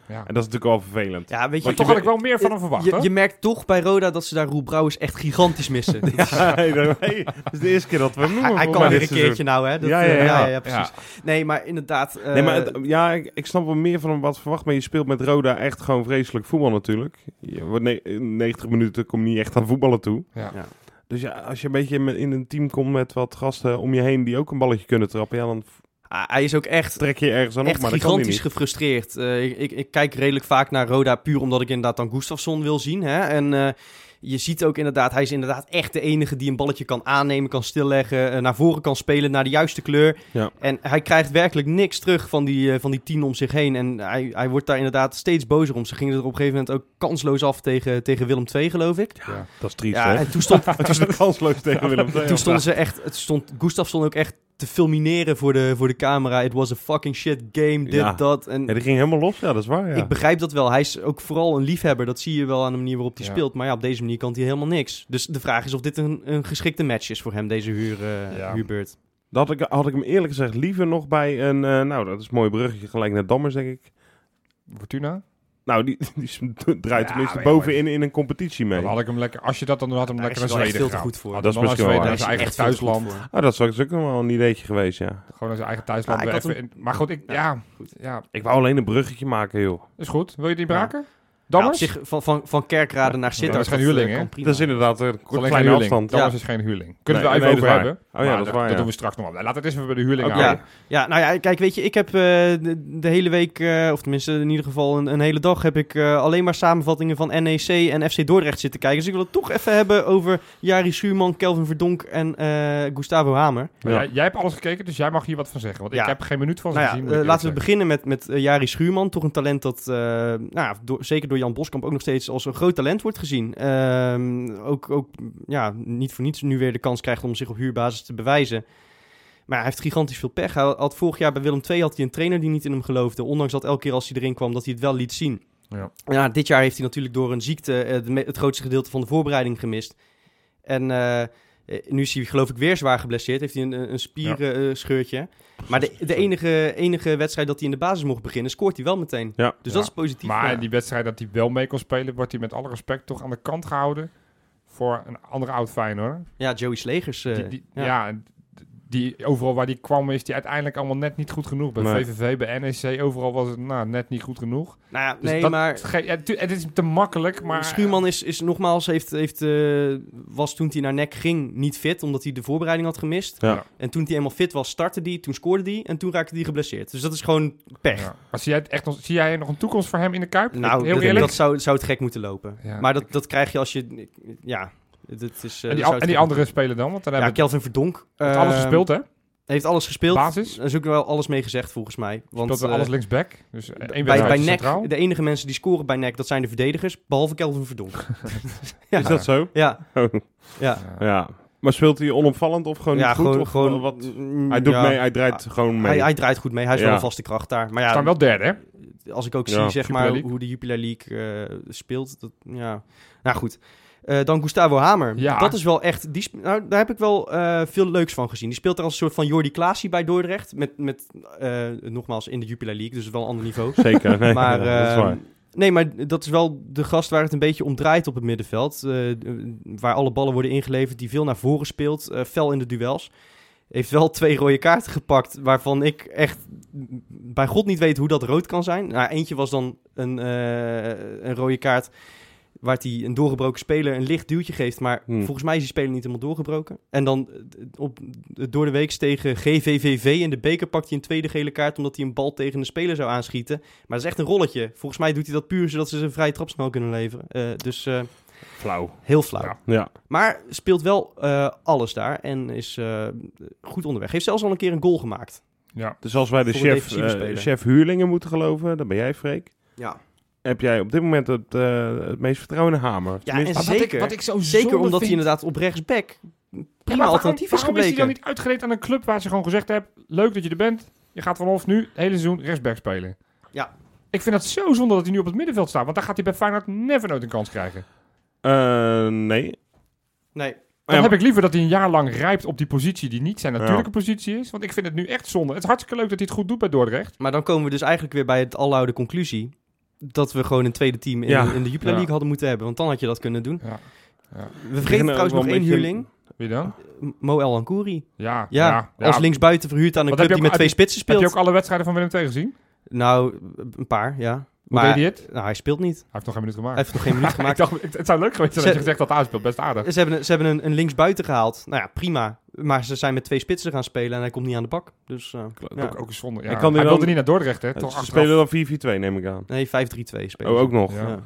Speaker 3: Ja.
Speaker 1: en dat is natuurlijk al vervelend.
Speaker 2: ja, weet je,
Speaker 3: Maar toch had ik wel meer van hem verwacht,
Speaker 2: je,
Speaker 3: hoor.
Speaker 2: je merkt toch bij Roda dat ze daar Roel Brouwers echt gigantisch missen.
Speaker 1: Ja, nee, dat nee, dat is de eerste keer dat we hem noemen.
Speaker 2: Hij, hij
Speaker 1: volgens
Speaker 2: kan
Speaker 1: mij
Speaker 2: weer een
Speaker 1: dit
Speaker 2: keertje nou, hè? Dat,
Speaker 1: Ja,
Speaker 2: eh,
Speaker 1: ja, ja.
Speaker 2: precies. Nee, maar inderdaad... eh,
Speaker 1: Nee, maar het- ja, ik, ik snap wel meer van hem wat verwacht. Maar je speelt met Roda echt gewoon vreselijk voetbal natuurlijk. Je, wordt ne- in 90 minuten kom je niet echt aan voetballen toe.
Speaker 3: Ja.
Speaker 2: Ja.
Speaker 1: Dus ja, als je een beetje met- in een team komt met wat gasten om je heen die ook een balletje kunnen trappen, ja, dan
Speaker 2: ah, hij is ook echt
Speaker 1: trek je ergens aan op.
Speaker 2: echt
Speaker 1: Maar dat kan hij
Speaker 2: gigantisch
Speaker 1: niet.
Speaker 2: gefrustreerd. Eh, ik, ik, ik kijk redelijk vaak naar Roda puur omdat ik inderdaad dan Gustafsson wil zien. Hè? En eh, je ziet ook inderdaad, hij is inderdaad echt de enige die een balletje kan aannemen, kan stilleggen, eh, naar voren kan spelen, naar de juiste kleur.
Speaker 1: Ja.
Speaker 2: En hij krijgt werkelijk niks terug van die, eh, van die tien om zich heen. En hij, hij wordt daar inderdaad steeds bozer om. Ze gingen er op een gegeven moment ook kansloos af tegen, tegen Willem II, geloof ik.
Speaker 3: Ja.
Speaker 1: Dat is triest,
Speaker 2: Ja,
Speaker 1: hè?
Speaker 2: en toen stond,
Speaker 1: Het is een kansloos tegen Willem II.
Speaker 2: toen stonden ze echt, het stond, Gustafsson ook echt te filmineren voor de, voor de camera. It was a fucking shit game, dit,
Speaker 1: Ja.
Speaker 2: dat. En
Speaker 1: Ja, die ging helemaal los. Ja, dat is waar, ja.
Speaker 2: ik begrijp dat wel. Hij is ook vooral een liefhebber. Dat zie je wel aan de manier waarop hij
Speaker 3: Ja.
Speaker 2: speelt. Maar ja, op deze manier kan hij helemaal niks. Dus de vraag is of dit een, een geschikte match is voor hem, deze huur, eh,
Speaker 3: Ja.
Speaker 2: huurbeurt.
Speaker 1: Dat had ik, had ik hem eerlijk gezegd liever nog bij een... eh, nou, dat is een mooi bruggetje gelijk naar Dammers, denk ik.
Speaker 3: Fortuna?
Speaker 1: Nou, die, die draait
Speaker 3: Ja,
Speaker 1: tenminste
Speaker 3: maar ja,
Speaker 1: bovenin in een competitie mee.
Speaker 3: Dan had ik hem lekker, als je dat dan doet, had hem
Speaker 2: Daar
Speaker 3: lekker
Speaker 2: is
Speaker 3: naar
Speaker 2: hij wel echt
Speaker 3: Zweden
Speaker 2: veel te
Speaker 3: gegaan.
Speaker 2: goed voor.
Speaker 3: Had hem
Speaker 1: Ah, Dat
Speaker 3: dan
Speaker 1: is misschien
Speaker 3: naar Zweden,
Speaker 1: wel
Speaker 3: naar
Speaker 1: waar.
Speaker 2: Daar
Speaker 3: zijn
Speaker 2: is
Speaker 3: eigen
Speaker 2: hij echt veel te goed
Speaker 3: thuisland.
Speaker 2: voor.
Speaker 1: Ah, dat is ook nog wel een ideetje geweest, ja.
Speaker 3: Gewoon naar zijn eigen thuisland.
Speaker 2: Ja, ik had
Speaker 3: even in- maar goed, ik,
Speaker 2: Ja.
Speaker 3: ja,
Speaker 2: Goed.
Speaker 3: ja,
Speaker 1: Ik wou alleen een bruggetje maken, joh.
Speaker 3: is goed. Wil je die
Speaker 2: Ja.
Speaker 3: braken?
Speaker 2: Ja, op
Speaker 3: Dammers?
Speaker 2: zich, van, van, van Kerkrade naar Sittard.
Speaker 3: dat is geen
Speaker 2: eh,
Speaker 3: huurling, hè?
Speaker 2: kan prima.
Speaker 1: Dat is inderdaad een
Speaker 3: Alleen
Speaker 1: kort,
Speaker 3: geen
Speaker 1: kleine
Speaker 3: huurling.
Speaker 1: afstand.
Speaker 3: Dammers is geen huurling. Kunnen
Speaker 1: Nee,
Speaker 3: we
Speaker 1: nee,
Speaker 3: even
Speaker 1: dat
Speaker 3: over
Speaker 1: is waar.
Speaker 3: hebben.
Speaker 1: ja,
Speaker 3: Maar
Speaker 1: dat is waar,
Speaker 3: Dat
Speaker 1: ja.
Speaker 3: doen we straks nog wel. Laten we het eerst even bij de huurling
Speaker 1: Oké.
Speaker 3: houden.
Speaker 2: Ja, nou ja, kijk, weet je, ik heb eh, de, de hele week, eh, of tenminste in ieder geval een, een hele dag, heb ik eh, alleen maar samenvattingen van NEC en FC Dordrecht zitten kijken. Dus ik wil het toch even hebben over Jari Schuurman, Kelvin Verdonk en eh, Gustavo Hamer.
Speaker 3: Maar
Speaker 1: Ja.
Speaker 3: Jij, jij hebt alles gekeken, dus jij mag hier wat van zeggen. Want
Speaker 2: Ja.
Speaker 3: ik heb geen minuut van
Speaker 2: Nou ja,
Speaker 3: gezien.
Speaker 2: eh, laten we beginnen met, met eh, Jari Schuurman. Toch een talent dat, eh, nou ja, door- zeker door Jan Boskamp, ook nog steeds als een groot talent wordt gezien. Ehm, ook ook ja, niet voor niets nu weer de kans krijgt om zich op huurbasis te bewijzen. Maar hij heeft gigantisch veel pech. Hij had vorig jaar bij Willem II had hij een trainer die niet in hem geloofde. Ondanks dat elke keer als hij erin kwam, dat hij het wel liet zien.
Speaker 3: Ja.
Speaker 2: Ja, dit jaar heeft hij natuurlijk door een ziekte eh, de me- het grootste gedeelte van de voorbereiding gemist. En eh, eh, nu is hij geloof ik weer zwaar geblesseerd. Heeft hij een, een spierscheurtje. Maar de, de enige, enige wedstrijd dat hij in de basis mocht beginnen, scoort hij wel meteen.
Speaker 1: Ja.
Speaker 2: Dus
Speaker 3: Ja.
Speaker 2: dat is positief.
Speaker 3: Maar
Speaker 2: Ja.
Speaker 3: die wedstrijd dat hij wel mee kon spelen, wordt hij met alle respect toch aan de kant gehouden voor een andere oud Feyenoord.
Speaker 2: ja, Joey Slegers. eh,
Speaker 3: Die, die,
Speaker 2: ja.
Speaker 3: ja. d- die, overal waar die kwam is die uiteindelijk allemaal net niet goed genoeg. Bij
Speaker 1: Nee.
Speaker 3: VVV, bij NEC, overal was het nou, net niet goed genoeg.
Speaker 2: Nou ja,
Speaker 3: Dus
Speaker 2: nee,
Speaker 3: dat
Speaker 2: maar...
Speaker 3: Het, ge- ja, tu- het is te makkelijk, maar...
Speaker 2: Schuurman is, is nogmaals, heeft, heeft, eh, was toen hij naar nek ging niet fit, omdat hij de voorbereiding had gemist.
Speaker 1: Ja.
Speaker 2: En toen hij eenmaal fit was, startte die, toen scoorde die en toen raakte die geblesseerd. Dus dat is gewoon pech.
Speaker 3: Ja. Maar zie jij, het echt nog, zie jij nog een toekomst voor hem in de Kuip?
Speaker 2: Nou,
Speaker 3: Heel
Speaker 2: dat,
Speaker 3: eerlijk.
Speaker 2: dat zou, zou het gek moeten lopen.
Speaker 3: Ja,
Speaker 2: maar dat, dat krijg je als je... Ja, dat is... eh,
Speaker 3: en,
Speaker 2: zou
Speaker 3: die, a-
Speaker 2: het
Speaker 3: en die
Speaker 2: gek-
Speaker 3: andere spelen dan? Want dan
Speaker 2: Ja,
Speaker 3: hebben we
Speaker 2: Kelvin Verdonk.
Speaker 3: het alles
Speaker 2: eh,
Speaker 3: gespeeld, hè?
Speaker 2: Heeft alles gespeeld.
Speaker 3: Basis?
Speaker 2: Er is ook wel alles mee gezegd, volgens mij. Want,
Speaker 3: Speelt we
Speaker 2: eh,
Speaker 3: alles linksback. Dus eh, één
Speaker 2: bij,
Speaker 3: wedstrijd
Speaker 2: bij
Speaker 3: centraal.
Speaker 2: NEC, de enige mensen die scoren bij NEC, dat zijn de verdedigers, behalve Kelvin Verdonk.
Speaker 1: Is dat zo?
Speaker 2: Ja,
Speaker 1: Ja. Maar speelt hij onopvallend of gewoon
Speaker 2: ja
Speaker 1: niet goed?
Speaker 2: gewoon...
Speaker 1: of eh,
Speaker 2: gewoon
Speaker 1: wat?
Speaker 2: mm,
Speaker 1: Hij doet
Speaker 2: ja.
Speaker 1: mee, hij draait gewoon mee.
Speaker 2: Hij, hij draait goed mee, hij is wel
Speaker 1: Ja.
Speaker 2: een vaste kracht daar. Maar
Speaker 3: We
Speaker 2: ja,
Speaker 3: staan wel derde, hè?
Speaker 2: als ik ook
Speaker 1: Ja,
Speaker 2: zie zeg
Speaker 3: Jupiler
Speaker 2: maar,
Speaker 3: League.
Speaker 2: hoe de Jupiler League eh, speelt, dat, ja. Nou goed. Eh, dan Gustavo Hamer.
Speaker 3: Ja.
Speaker 2: Dat is wel echt... Die sp- nou, daar heb ik wel eh, veel leuks van gezien. Die speelt er als een soort van Jordi Klaasie bij Dordrecht. Met, met eh, nogmaals, in de Jupiler League. Dus wel een ander niveau.
Speaker 1: Zeker. Nee,
Speaker 2: Maar,
Speaker 1: ja, dat is
Speaker 2: ehm,
Speaker 1: waar.
Speaker 2: nee, maar dat is wel de gast waar het een beetje om draait op het middenveld. Eh, d- waar alle ballen worden ingeleverd, die veel naar voren speelt, eh, fel in de duels. Heeft wel twee rode kaarten gepakt, waarvan ik echt m- bij God niet weet hoe dat rood kan zijn. Nou, eentje was dan een, eh, een rode kaart waar hij een doorgebroken speler een licht duwtje geeft. Maar
Speaker 1: Hmm.
Speaker 2: volgens mij is die speler niet helemaal doorgebroken. En dan eh, d- op, door de week tegen GVVV in de beker pakt hij een tweede gele kaart... omdat hij een bal tegen een speler zou aanschieten. Maar dat is echt een rolletje. Volgens mij doet hij dat puur zodat ze zijn vrije trap snel kunnen leveren. Eh, dus eh,
Speaker 1: Flauw.
Speaker 2: heel flauw.
Speaker 3: Ja.
Speaker 1: Ja.
Speaker 2: Maar speelt wel eh, alles daar en is eh, goed onderweg. Heeft zelfs al een keer een goal gemaakt.
Speaker 3: Ja.
Speaker 1: Dus als wij de
Speaker 2: Voor de
Speaker 1: chef,
Speaker 2: defensieve
Speaker 1: eh,
Speaker 2: speler.
Speaker 1: chef huurlingen moeten geloven, dan ben jij Freek.
Speaker 2: Ja,
Speaker 1: Heb jij op dit moment het, eh, het meest vertrouwen in Hamer?
Speaker 2: ja en
Speaker 1: Tenminste-
Speaker 2: zeker,
Speaker 3: zo
Speaker 2: zeker omdat hij inderdaad op rechtsback prima alternatief is
Speaker 3: Waarom is hij dan
Speaker 2: gebleken.
Speaker 3: niet uitgeleend aan een club waar ze gewoon gezegd hebben... Leuk dat je er bent. Je gaat vanaf nu het hele seizoen rechtsback spelen.
Speaker 2: Ja.
Speaker 3: Ik vind dat zo zonde dat hij nu op het middenveld staat. Want dan gaat hij bij Feyenoord never nooit een kans krijgen.
Speaker 1: Eh, nee.
Speaker 2: Nee,
Speaker 3: Dan
Speaker 1: Ja,
Speaker 3: heb ik liever dat hij een jaar lang rijpt op die positie die niet zijn natuurlijke positie is. Want ik vind het nu echt zonde. Het is hartstikke leuk dat hij het goed doet bij Dordrecht.
Speaker 2: maar dan komen we dus eigenlijk weer bij het aloude conclusie... dat we gewoon een tweede team in,
Speaker 1: Ja.
Speaker 2: in de Jupiler
Speaker 3: Ja.
Speaker 2: League hadden moeten hebben. Want dan had je dat kunnen doen.
Speaker 3: Ja. Ja.
Speaker 2: We vergeten
Speaker 1: beginnen ook
Speaker 2: trouwens
Speaker 1: wel
Speaker 2: nog
Speaker 1: een
Speaker 2: één
Speaker 1: beetje-
Speaker 2: huurling.
Speaker 3: Wie dan?
Speaker 2: Mo El Ankouri.
Speaker 3: Ja.
Speaker 2: Ja, als
Speaker 3: ja.
Speaker 2: linksbuiten verhuurd aan een
Speaker 3: Wat
Speaker 2: club
Speaker 3: heb je
Speaker 2: die met
Speaker 3: ook-
Speaker 2: twee spitsen
Speaker 3: Heb
Speaker 2: speelt.
Speaker 3: je ook alle wedstrijden van Willem II gezien?
Speaker 2: Nou, een paar, ja.
Speaker 3: Hoe
Speaker 2: Maar
Speaker 3: deed hij het? Hij Ah.
Speaker 2: Nou, hij speelt niet.
Speaker 3: heeft nog geen minuut
Speaker 2: Hij
Speaker 3: gemaakt.
Speaker 2: heeft nog geen minuut gemaakt.
Speaker 3: Ik dacht, het- het zou leuk geweest zijn als je gezegd dat hij speelt. Best aardig.
Speaker 2: Ze hebben, een- ze hebben een, een linksbuiten gehaald. Nou ja, prima. Maar ze zijn met twee spitsen gaan spelen en hij komt niet aan de bak. Dus eh, ja.
Speaker 3: Ook, ook een zonde. Ja.
Speaker 1: Hij
Speaker 3: Hij,
Speaker 1: kan nu
Speaker 3: wilde
Speaker 1: dan-
Speaker 3: niet naar Dordrecht, hè?
Speaker 1: Ze
Speaker 3: Toch achteraf.
Speaker 1: spelen dan 4-4-2, neem ik aan.
Speaker 2: nee, 5-3-2 spelen.
Speaker 1: Oh,
Speaker 2: ze.
Speaker 1: ook nog.
Speaker 3: Ja.
Speaker 2: Ja.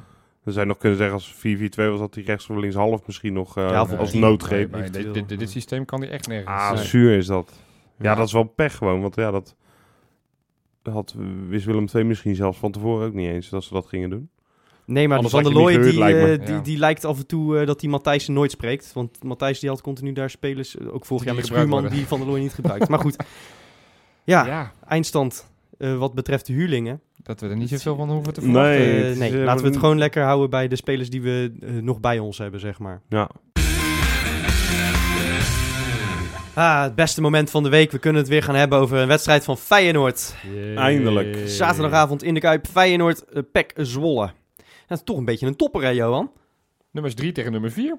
Speaker 1: Dan zou je nog kunnen zeggen als 4-4-2 was dat hij rechts of links half misschien nog eh,
Speaker 2: Ja, of op
Speaker 1: als
Speaker 2: tien.
Speaker 1: noodgreep.
Speaker 3: Nee, nee, dit, dit, dit- dit systeem kan hij echt nergens. eh,
Speaker 1: Ah,
Speaker 3: Nee.
Speaker 1: zuur is dat. Ja, dat is wel pech gewoon. Want ja, dat had wist Willem II misschien zelfs van tevoren ook niet eens dat ze dat gingen doen.
Speaker 2: Nee, maar
Speaker 1: Anders
Speaker 2: Van der
Speaker 1: had je
Speaker 2: Looy
Speaker 1: hem niet
Speaker 2: die,
Speaker 1: gehuurd,
Speaker 2: eh,
Speaker 1: lijkt
Speaker 3: me.
Speaker 2: die,
Speaker 3: Ja.
Speaker 2: die lijkt af en toe eh, dat die Matthijsen nooit spreekt. Want Matthijs die had continu daar spelers, eh, ook vorig
Speaker 3: Die
Speaker 2: jaar met
Speaker 3: niet gebruikt
Speaker 2: Schuurman,
Speaker 3: worden.
Speaker 2: die Van der Looy niet gebruikt. Maar goed, ja,
Speaker 3: Ja,
Speaker 2: eindstand eh, wat betreft de huurlingen.
Speaker 3: dat we er niet zoveel van hoeven te
Speaker 1: Nee.
Speaker 3: verwachten.
Speaker 2: Eh,
Speaker 1: het is,
Speaker 2: nee,
Speaker 1: eh,
Speaker 2: laten we het
Speaker 1: een-
Speaker 2: gewoon lekker houden bij de spelers die we eh, nog bij ons hebben, zeg maar.
Speaker 1: Ja.
Speaker 2: Ah, het beste moment van de week. We kunnen het weer gaan hebben over een wedstrijd van Feyenoord.
Speaker 1: Eindelijk.
Speaker 2: Zaterdagavond in de Kuip. Feyenoord, eh, Pek Zwolle. Dat is toch een beetje een topper, hè, Johan?
Speaker 3: Nummers 3 tegen nummer 4.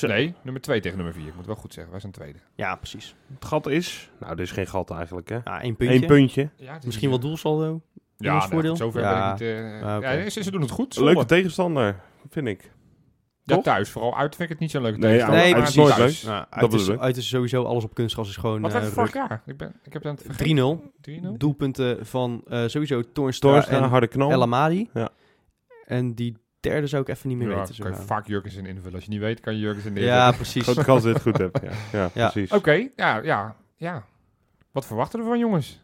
Speaker 3: Nee, nummer 2 tegen nummer 4. Ik moet wel goed zeggen, wij zijn tweede.
Speaker 2: Ja, precies.
Speaker 1: Het gat is... Nou, dit is geen gat eigenlijk, hè.
Speaker 2: Ja, één puntje.
Speaker 1: Eén puntje.
Speaker 3: Ja, het is
Speaker 2: Misschien
Speaker 3: niet-
Speaker 2: wel doelsaldo.
Speaker 3: Ja,
Speaker 2: ons
Speaker 3: nou,
Speaker 2: voordeel.
Speaker 3: goed, zover
Speaker 2: Ja.
Speaker 3: ben ik niet... eh,
Speaker 2: Ah, oké.
Speaker 3: ja, ze, ze doen het goed. Zwolle.
Speaker 1: Leuke tegenstander, vind ik.
Speaker 3: Ja,
Speaker 1: toch?
Speaker 3: thuis. Vooral uit vind ik het niet zo'n leuke
Speaker 1: Nee,
Speaker 3: tegenstander.
Speaker 2: uit-
Speaker 3: maar
Speaker 2: uit is
Speaker 1: nooit
Speaker 3: thuis.
Speaker 1: leuk.
Speaker 2: Nou,
Speaker 1: Dat
Speaker 2: uit, is,
Speaker 1: bedoelen
Speaker 2: uit is sowieso alles op kunstgras is gewoon
Speaker 3: Wat werd
Speaker 2: eh
Speaker 3: het vorig jaar? Ik, ben, ik heb het aan het
Speaker 2: ruk.
Speaker 3: vergeten.
Speaker 2: 3-0.
Speaker 3: 3-0.
Speaker 2: Doelpunten van eh, sowieso Toornstra,
Speaker 1: Torstra,
Speaker 2: en
Speaker 1: harde knal.
Speaker 2: El Amadi.
Speaker 1: Ja.
Speaker 2: En die derde zou ik even niet meer
Speaker 3: Ja,
Speaker 2: weten. zo
Speaker 3: kan je
Speaker 2: gauw.
Speaker 3: vaak Jurgensen invullen. Als je niet weet, kan je Jurgensen invullen.
Speaker 2: ja, precies.
Speaker 1: Grote kans dat je het goed hebt. Ja, ja,
Speaker 2: Ja.
Speaker 1: precies.
Speaker 3: Oké, ja, ja, ja. Wat verwachten we van jongens?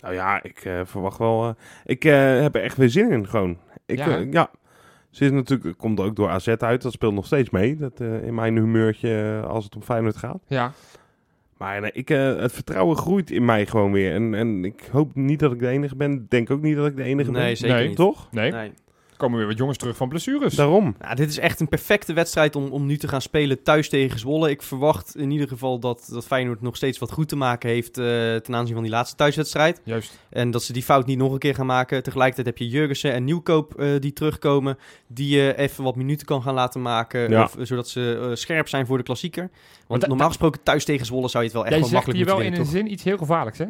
Speaker 1: Nou ja, ik eh, verwacht wel... eh, ik eh, heb er echt weer zin in, gewoon. Ik,
Speaker 3: Ja,
Speaker 1: ja.
Speaker 3: hè?
Speaker 1: ja. Ze is natuurlijk, komt ook door AZ uit. Dat speelt nog steeds mee. Dat, eh, in mijn humeurtje eh, als het om Feyenoord gaat.
Speaker 3: Ja,
Speaker 1: Maar nee, ik, eh, het vertrouwen groeit in mij gewoon weer. En, en ik hoop niet dat ik de enige ben. Ik Denk ook niet dat ik de enige ben.
Speaker 2: Nee, zeker
Speaker 3: Nee,
Speaker 2: niet.
Speaker 1: Toch?
Speaker 3: nee.
Speaker 2: Nee.
Speaker 3: Er komen weer wat jongens terug van blessures.
Speaker 1: Daarom.
Speaker 2: Nou, dit is echt een perfecte wedstrijd om, om nu te gaan spelen thuis tegen Zwolle. Ik verwacht in ieder geval dat, dat Feyenoord nog steeds wat goed te maken heeft eh, ten aanzien van die laatste thuiswedstrijd.
Speaker 3: Juist.
Speaker 2: En dat ze die fout niet nog een keer gaan maken. Tegelijkertijd heb je Jurgensen en Nieuwkoop eh, die terugkomen. Die je even wat minuten kan gaan laten maken.
Speaker 1: Ja.
Speaker 2: Of, eh, zodat ze eh, scherp zijn voor de klassieker. Want
Speaker 3: da-
Speaker 2: normaal gesproken thuis tegen Zwolle zou je het wel echt
Speaker 3: Jij
Speaker 2: wel
Speaker 3: zegt
Speaker 2: makkelijk
Speaker 3: hier
Speaker 2: moeten
Speaker 3: wel in
Speaker 2: winnen,
Speaker 3: een
Speaker 2: toch?
Speaker 3: zin iets heel gevaarlijks, hè?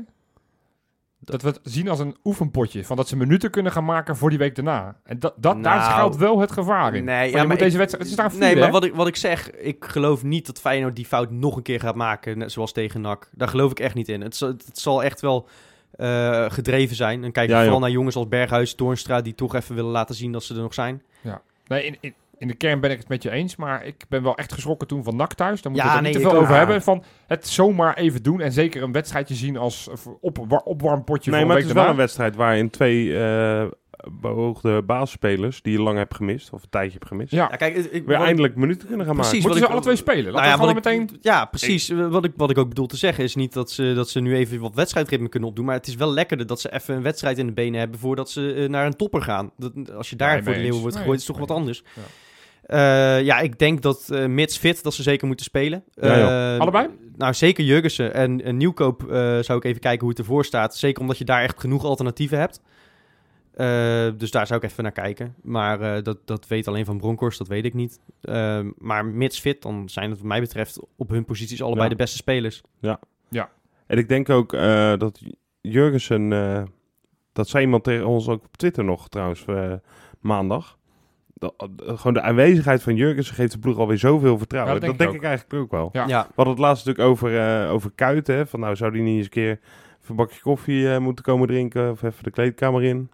Speaker 3: Dat we het zien als een oefenpotje. Van dat ze minuten kunnen gaan maken voor die week daarna. En dat, dat, daar
Speaker 2: Nou,
Speaker 3: schuilt wel het gevaar in.
Speaker 2: nee,
Speaker 3: Van,
Speaker 2: ja,
Speaker 3: je
Speaker 2: maar
Speaker 3: moet
Speaker 2: ik-
Speaker 3: deze wedstrijd... Het is daar vier,
Speaker 2: Nee,
Speaker 3: hè?
Speaker 2: maar wat ik, wat ik zeg, ik geloof niet dat Feyenoord die fout nog een keer gaat maken, net zoals tegen NAC. Daar geloof ik echt niet in. Het, zal- het zal echt wel eh, gedreven zijn. En kijk
Speaker 1: Ja,
Speaker 2: vooral
Speaker 1: joh.
Speaker 2: naar jongens als Berghuis, Toornstra, die toch even willen laten zien dat ze er nog zijn.
Speaker 3: Nee, in, in, in de kern ben ik het met je eens, maar ik ben wel echt geschrokken toen van NAC thuis. Daar moeten
Speaker 2: Ja,
Speaker 3: we het
Speaker 2: nee,
Speaker 3: niet te
Speaker 2: ik
Speaker 3: veel
Speaker 2: ook.
Speaker 3: over hebben. Van het zomaar even doen en zeker een wedstrijdje zien als eh, voor op, wa- opwarmpotje
Speaker 1: Nee,
Speaker 3: voor
Speaker 1: maar
Speaker 3: een
Speaker 1: het is
Speaker 3: week
Speaker 1: wel
Speaker 3: daarna.
Speaker 1: een wedstrijd waarin twee eh beoogde basisspelers... die je lang hebt gemist, of een tijdje hebt gemist...
Speaker 3: Ja,
Speaker 2: Ja, kijk, ik, ik-
Speaker 1: weer
Speaker 2: wat ik-
Speaker 1: eindelijk minuten kunnen gaan
Speaker 2: Precies.
Speaker 1: maken.
Speaker 3: moeten
Speaker 2: wat
Speaker 3: ze
Speaker 2: ik-
Speaker 3: alle twee spelen? Laten
Speaker 2: nou ja,
Speaker 3: we
Speaker 2: wat
Speaker 3: gewoon
Speaker 2: ik,
Speaker 3: meteen...
Speaker 2: ja, precies. Wat, ik, wat ik ook bedoel te zeggen is niet dat ze, dat ze nu even wat wedstrijdritme kunnen opdoen. Maar het is wel lekkerder dat ze even een wedstrijd in de benen hebben voordat ze eh, naar een topper gaan. Dat, als je daar
Speaker 3: Nee,
Speaker 2: voor de
Speaker 3: mee
Speaker 2: leeuwen
Speaker 3: eens.
Speaker 2: wordt
Speaker 3: Nee,
Speaker 2: gegooid, is het toch wat
Speaker 3: mee
Speaker 2: anders.
Speaker 3: Ja.
Speaker 2: Ja. ja, ik denk dat eh, mits fit, dat ze zeker moeten spelen.
Speaker 1: Ja,
Speaker 2: Eh,
Speaker 3: Allebei?
Speaker 2: Nou, zeker Jurgensen en, en Nieuwkoop eh, zou ik even kijken hoe het ervoor staat. Zeker omdat je daar echt genoeg alternatieven hebt. Eh, dus daar zou ik even naar kijken. Maar eh, dat, dat weet alleen van Bronkhorst, dat weet ik niet. Ehm, maar mits fit, dan zijn het wat mij betreft op hun posities allebei
Speaker 1: Ja.
Speaker 2: de beste spelers.
Speaker 1: En ik denk ook eh, dat Jurgensen... eh, dat zei iemand tegen ons ook op Twitter nog trouwens, eh, maandag... Dat, eh, gewoon de aanwezigheid van Jurgensen geeft de ploeg alweer zoveel vertrouwen.
Speaker 3: Ja, dat
Speaker 1: dat
Speaker 3: denk
Speaker 1: denk ik eigenlijk ook wel.
Speaker 3: Ja.
Speaker 2: Ja,
Speaker 1: We hadden het laatst natuurlijk over, eh, over kuiten. Hè? Van nou, zou die niet eens een keer even een bakje koffie eh, moeten komen drinken? Of even de kleedkamer in?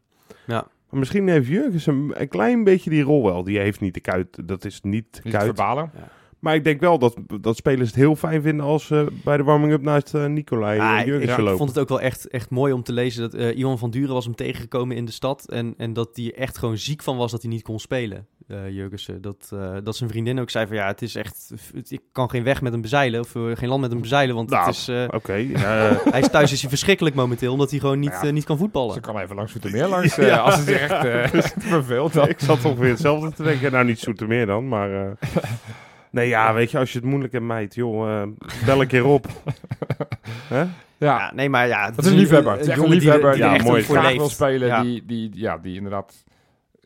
Speaker 2: Ja.
Speaker 1: Maar misschien heeft Jurgens een, een klein beetje die rol wel. Die heeft niet de kuit, dat is niet
Speaker 3: Niet te
Speaker 1: kuit.
Speaker 3: verbalen.
Speaker 1: Maar ik denk wel dat, dat spelers het heel fijn vinden als ze bij de warming-up naast eh, Nicolai
Speaker 2: Ah,
Speaker 1: en
Speaker 2: ik-
Speaker 1: Jurgensen
Speaker 2: ik
Speaker 1: lopen.
Speaker 2: vond het ook wel echt, echt mooi om te lezen dat eh Iwan van Duren was hem tegengekomen in de stad. En, en dat hij echt gewoon ziek van was dat hij niet kon spelen, eh Jurgensen. Dat, eh, dat zijn vriendin ook zei van ja, het is echt, ik kan geen weg met hem bezeilen. Of eh, geen land met hem bezeilen, want
Speaker 1: Nou,
Speaker 2: het is, eh,
Speaker 1: Oké, eh,
Speaker 2: hij is thuis is hij verschrikkelijk momenteel, omdat hij gewoon niet,
Speaker 3: Nou ja.
Speaker 2: eh, niet kan
Speaker 3: Ze
Speaker 2: voetballen.
Speaker 3: kan even langs meer langs eh, als het zich echt eh, verveelt. Dan.
Speaker 1: ik zat ongeveer hetzelfde te denken. Nou, niet Soetermeer dan, maar... eh, nee, ja, weet je, als je het moeilijk hebt, meid, joh, eh, bel een keer op. Hè?
Speaker 3: Ja,
Speaker 2: Ja, nee, maar ja.
Speaker 3: Dat is een liefhebber. Het is echt een
Speaker 2: jongen die er-
Speaker 3: liefhebber die,
Speaker 2: er
Speaker 1: ja,
Speaker 3: echt
Speaker 1: mooi.
Speaker 3: een
Speaker 2: voor
Speaker 3: graag
Speaker 2: leeft.
Speaker 3: wil spelen.
Speaker 2: Ja.
Speaker 3: Die, die, ja, die inderdaad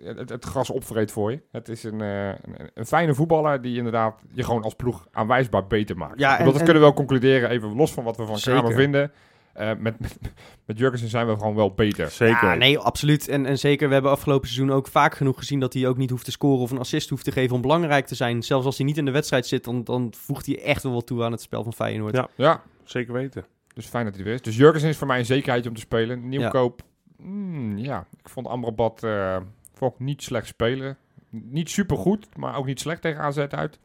Speaker 3: het, het gras opvreet voor je. Het is een, eh, een, een fijne voetballer die inderdaad je gewoon als ploeg aanwijsbaar beter maakt.
Speaker 2: Ja,
Speaker 3: Ja,
Speaker 2: en-
Speaker 3: dat
Speaker 2: en-
Speaker 3: kunnen we wel concluderen, even los van wat we van Kramer
Speaker 2: Zeker.
Speaker 3: vinden. Eh, met, met, met Jurgensen zijn we gewoon wel beter.
Speaker 1: Zeker.
Speaker 2: Ja, nee, absoluut. En, en zeker, we hebben afgelopen seizoen ook vaak genoeg gezien dat hij ook niet hoeft te scoren of een assist hoeft te geven om belangrijk te zijn. Zelfs als hij niet in de wedstrijd zit, dan, dan voegt hij echt wel wat toe aan het spel van Feyenoord.
Speaker 1: Ja.
Speaker 3: Ja,
Speaker 1: Zeker weten.
Speaker 3: dus fijn dat hij er is. Dus Jurgensen is voor mij een zekerheidje om te spelen. Nieuwkoop, mm, ja. Ik vond Amrabat eh vond ik niet slecht spelen. Niet supergoed, maar ook niet slecht tegen AZ uit.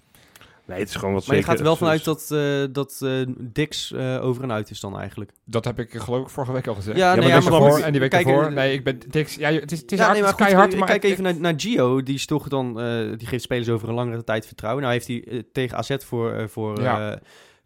Speaker 1: Nee, het is gewoon wat
Speaker 2: Maar je
Speaker 1: zeker.
Speaker 2: gaat er wel
Speaker 1: het is-
Speaker 2: vanuit dat, eh, dat eh, Dix eh, over en uit is dan eigenlijk.
Speaker 3: Dat heb ik eh, geloof ik vorige week al gezegd.
Speaker 2: Ja,
Speaker 1: nee,
Speaker 3: maar
Speaker 1: ja,
Speaker 3: deze
Speaker 1: maar
Speaker 3: voor
Speaker 1: goed,
Speaker 3: en die week
Speaker 2: kijk,
Speaker 3: ervoor.
Speaker 2: eh,
Speaker 3: Nee, ik ben Dix. Ja, het is, het is,
Speaker 2: ja,
Speaker 3: hard,
Speaker 2: nee, maar
Speaker 3: het is
Speaker 2: goed,
Speaker 3: keihard,
Speaker 2: ik-
Speaker 3: maar
Speaker 2: kijk
Speaker 3: ik-
Speaker 2: even naar, naar Gio. Die, is toch dan, eh, die geeft spelers over een langere tijd vertrouwen. Nou heeft hij eh, tegen AZ voor, eh, voor,
Speaker 3: Ja.
Speaker 2: eh,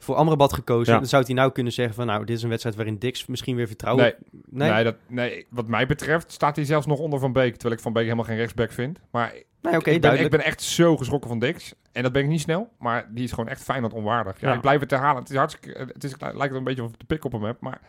Speaker 2: voor Amrabat gekozen.
Speaker 1: Ja.
Speaker 2: Dan zou hij nou kunnen zeggen van... Nou, dit is een wedstrijd waarin Dix misschien weer vertrouwen...
Speaker 3: Nee, nee. dat, nee, wat mij betreft staat hij zelfs nog onder Van Beek. Terwijl ik Van Beek helemaal geen rechtsback vind. Maar
Speaker 2: Nee, oké,
Speaker 3: ik, ben, ik
Speaker 2: duidelijk.
Speaker 3: ben echt zo geschrokken van Dix. En En dat ben ik niet snel, maar die is gewoon echt Feyenoord onwaardig. Ja,
Speaker 1: Ja.
Speaker 3: Ik blijf het herhalen. Het, is hartstikke, het, is, het lijkt wel een beetje of ik de pik op hem heb, maar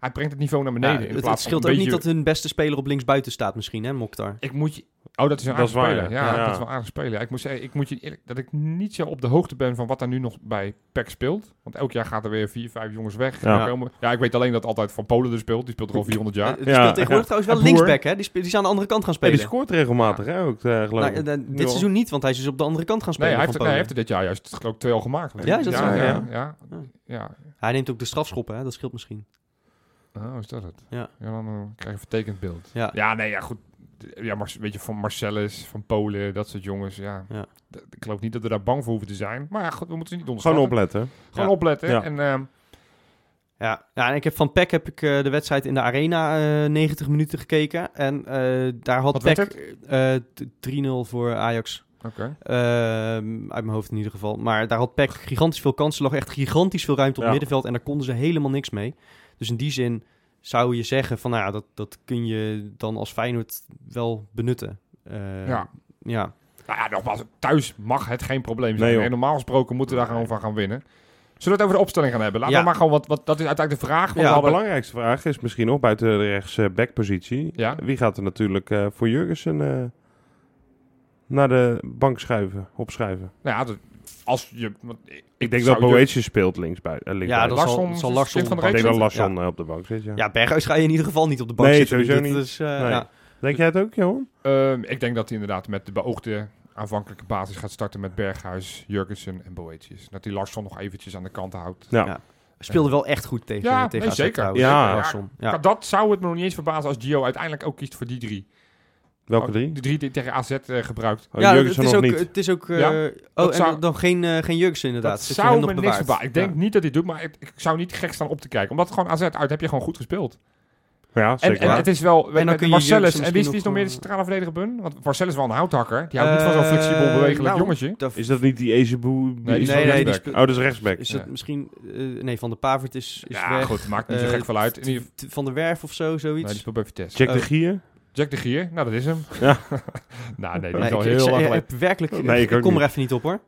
Speaker 3: hij brengt het niveau naar beneden. in
Speaker 2: het, het
Speaker 3: plaats van
Speaker 2: scheelt
Speaker 3: een
Speaker 2: ook
Speaker 3: beetje-
Speaker 2: niet dat hun beste speler op linksbuiten staat misschien, hè, Mokhtar?
Speaker 3: Ik moet je... Oh, dat is een
Speaker 1: Dat
Speaker 3: aardig
Speaker 1: is waar,
Speaker 3: speler.
Speaker 1: ja.
Speaker 3: Ja,
Speaker 1: Ja.
Speaker 3: dat is wel aardig speler. Ik moet, zeggen, ik moet je eerlijk... Dat ik niet zo op de hoogte ben van wat er nu nog bij PEC speelt. Want elk jaar gaat er weer vier, vijf jongens weg.
Speaker 1: Ja.
Speaker 3: Ja, ja ik weet alleen dat altijd Van Polen er speelt. Die speelt er al 400 jaar.
Speaker 2: Die
Speaker 1: Ja,
Speaker 2: Eh, speelt tegenwoordig
Speaker 1: ja.
Speaker 2: trouwens wel
Speaker 1: En Boer.
Speaker 2: linksback, hè? Die, spe- die is aan de andere kant gaan
Speaker 1: En
Speaker 2: spelen.
Speaker 1: die scoort regelmatig, hè, ook, eh, geloof
Speaker 2: Nou,
Speaker 1: ik.
Speaker 2: eh,
Speaker 1: Nu
Speaker 2: dit
Speaker 1: al.
Speaker 2: seizoen niet, want hij is dus op de andere kant gaan
Speaker 3: Nee,
Speaker 2: spelen.
Speaker 3: hij heeft, er,
Speaker 2: van
Speaker 3: nee, hij heeft
Speaker 2: Polen.
Speaker 3: er dit jaar juist geloof ik twee al gemaakt.
Speaker 2: Ja, is dat
Speaker 3: ja,
Speaker 1: zo?
Speaker 3: Ja, ja.
Speaker 2: Ja.
Speaker 3: ja.
Speaker 2: Hij neemt ook de strafschoppen, hè? Dat scheelt misschien.
Speaker 3: Oh, is dat het?
Speaker 2: Ja.
Speaker 3: dan eh, krijg je een vertekend beeld.
Speaker 2: Ja.
Speaker 3: ja, nee, ja, goed. Ja, maar weet je, van Marcellus, van Polen, dat soort jongens. Ja.
Speaker 2: Ja.
Speaker 3: D- Ik geloof niet dat we daar bang voor hoeven te zijn. Maar ja, goed, we moeten ze niet
Speaker 1: Gewoon
Speaker 3: onderschatten.
Speaker 1: opletten.
Speaker 3: Gewoon
Speaker 2: Ja.
Speaker 3: opletten.
Speaker 1: Ja.
Speaker 3: En ehm,
Speaker 2: Ja, ja en ik heb van PEC heb ik eh, de wedstrijd in de Arena eh 90 minuten gekeken. En eh, daar had
Speaker 3: Wat werd
Speaker 2: PEC eh, t- 3-0 voor Ajax.
Speaker 3: oké.
Speaker 2: Ehm, uit mijn hoofd in ieder geval. Maar daar had PEC gigantisch veel kansen. lag echt gigantisch veel ruimte op
Speaker 1: Ja.
Speaker 2: middenveld. En daar konden ze helemaal niks mee. Dus in die zin zou je zeggen van... Nou ja, dat, dat kun je dan als Feyenoord wel benutten. Eh,
Speaker 3: Ja.
Speaker 2: Ja.
Speaker 3: Nou ja, nogmaals, thuis mag het geen probleem
Speaker 1: Nee,
Speaker 3: zijn.
Speaker 1: joh.
Speaker 3: en normaal gesproken moeten we daar gewoon van gaan winnen. Zullen we het over de opstelling gaan hebben? Laten
Speaker 2: Ja.
Speaker 3: we maar gewoon wat, wat... Dat is uiteindelijk de vraag. Want
Speaker 2: Ja,
Speaker 3: we
Speaker 1: de
Speaker 3: hadden-
Speaker 1: belangrijkste vraag is misschien nog buiten de rechts eh, backpositie.
Speaker 3: Ja.
Speaker 1: Wie gaat er natuurlijk eh, voor Jurgensen eh, naar de bank schuiven, opschuiven?
Speaker 3: Nou ja, dat- als je... want ik,
Speaker 1: Ik denk
Speaker 3: zou
Speaker 1: dat
Speaker 3: je-
Speaker 1: Boetje speelt linksbui- eh,
Speaker 2: ja,
Speaker 1: linksbuiten.
Speaker 2: dat
Speaker 3: Larsson-
Speaker 2: zal, zal Larsson...
Speaker 3: Kind van de
Speaker 1: ik denk dat
Speaker 3: Rechtsbuiten,
Speaker 1: Larsson eh, op de bank zit, ja.
Speaker 2: Ja, Berghuis ga je in ieder geval niet op de bank
Speaker 1: Nee,
Speaker 2: zitten.
Speaker 1: sowieso
Speaker 2: Dit
Speaker 1: niet.
Speaker 2: is, eh,
Speaker 1: Nee.
Speaker 2: ja.
Speaker 1: Denk jij het ook, Johan?
Speaker 3: Ehm, ik denk dat hij inderdaad met de beoogde aanvankelijke basis gaat starten met Berghuis, Jurgensen en Boetius. Dat hij Larsson nog eventjes aan de kant houdt.
Speaker 2: Ja. Speelde wel echt goed tegen,
Speaker 3: Ja,
Speaker 2: tegen
Speaker 3: nee,
Speaker 2: AZ
Speaker 3: zeker.
Speaker 2: trouwens.
Speaker 1: Ja.
Speaker 2: Larsson. Ja.
Speaker 3: Dat zou het me nog niet eens verbazen als Gio uiteindelijk ook kiest voor die drie. Oh,
Speaker 1: Welke drie?
Speaker 3: De drie die tegen AZ eh, gebruikt.
Speaker 1: Oh,
Speaker 2: ja,
Speaker 1: Jurgensen
Speaker 2: het is
Speaker 1: nog
Speaker 2: ook,
Speaker 1: niet.
Speaker 2: Het is ook... eh,
Speaker 3: Ja, dat
Speaker 2: oh, en
Speaker 3: zou-
Speaker 2: dan geen, eh geen Jurgensen inderdaad.
Speaker 3: dat
Speaker 2: Zit je
Speaker 3: zou
Speaker 2: hem
Speaker 3: me
Speaker 2: nog
Speaker 3: niks
Speaker 2: bewaard?
Speaker 3: verbazen. Ik
Speaker 2: Ja.
Speaker 3: denk niet dat hij het doet, maar ik, ik zou niet gek staan op te kijken. Omdat gewoon AZ uit heb je gewoon goed gespeeld.
Speaker 1: ja,
Speaker 3: En,
Speaker 1: zeker.
Speaker 3: en het is wel...
Speaker 2: dan
Speaker 3: En
Speaker 2: kun je
Speaker 3: Marcellus,
Speaker 2: Jurgensen
Speaker 3: en wie
Speaker 2: misschien
Speaker 3: is, wie
Speaker 2: nog,
Speaker 3: is nog meer de
Speaker 2: eh,
Speaker 3: centrale verdediger bun? Want Marcellus is wel een houthakker. Die houdt niet van zo'n
Speaker 2: Eh,
Speaker 3: flexibel bewegelijk
Speaker 2: nou,
Speaker 3: jongetje.
Speaker 2: dat-
Speaker 1: is dat niet die Ezeboe?
Speaker 3: Nee,
Speaker 1: die-
Speaker 3: is
Speaker 2: nee,
Speaker 3: wel
Speaker 2: nee, die
Speaker 3: rechtsback.
Speaker 2: spe-
Speaker 1: Oh, dat is rechtsback.
Speaker 2: Is dat
Speaker 3: Ja.
Speaker 2: misschien... eh, nee, Van de Pavert is, is
Speaker 3: Ja,
Speaker 2: weg.
Speaker 3: goed. Maakt niet zo
Speaker 2: Eh,
Speaker 3: gek veel uit. In ieder-
Speaker 2: T- Van der Werf of zo,
Speaker 3: Nee, die
Speaker 2: zoiets.
Speaker 3: speelt bij Vitesse.
Speaker 1: Jack de
Speaker 2: Oh.
Speaker 1: Gier?
Speaker 3: Jack de Gier, nou dat is hem.
Speaker 1: Ja.
Speaker 3: nou nee, dat
Speaker 2: Nee,
Speaker 3: is al
Speaker 2: ik- ik
Speaker 3: heel
Speaker 2: zei-
Speaker 3: lang
Speaker 2: eh,
Speaker 3: geleden.
Speaker 2: eh, werkelijk,
Speaker 1: Nee,
Speaker 2: eh,
Speaker 1: ik
Speaker 2: ik,
Speaker 1: ook
Speaker 2: kom
Speaker 1: niet.
Speaker 2: er even niet op hoor.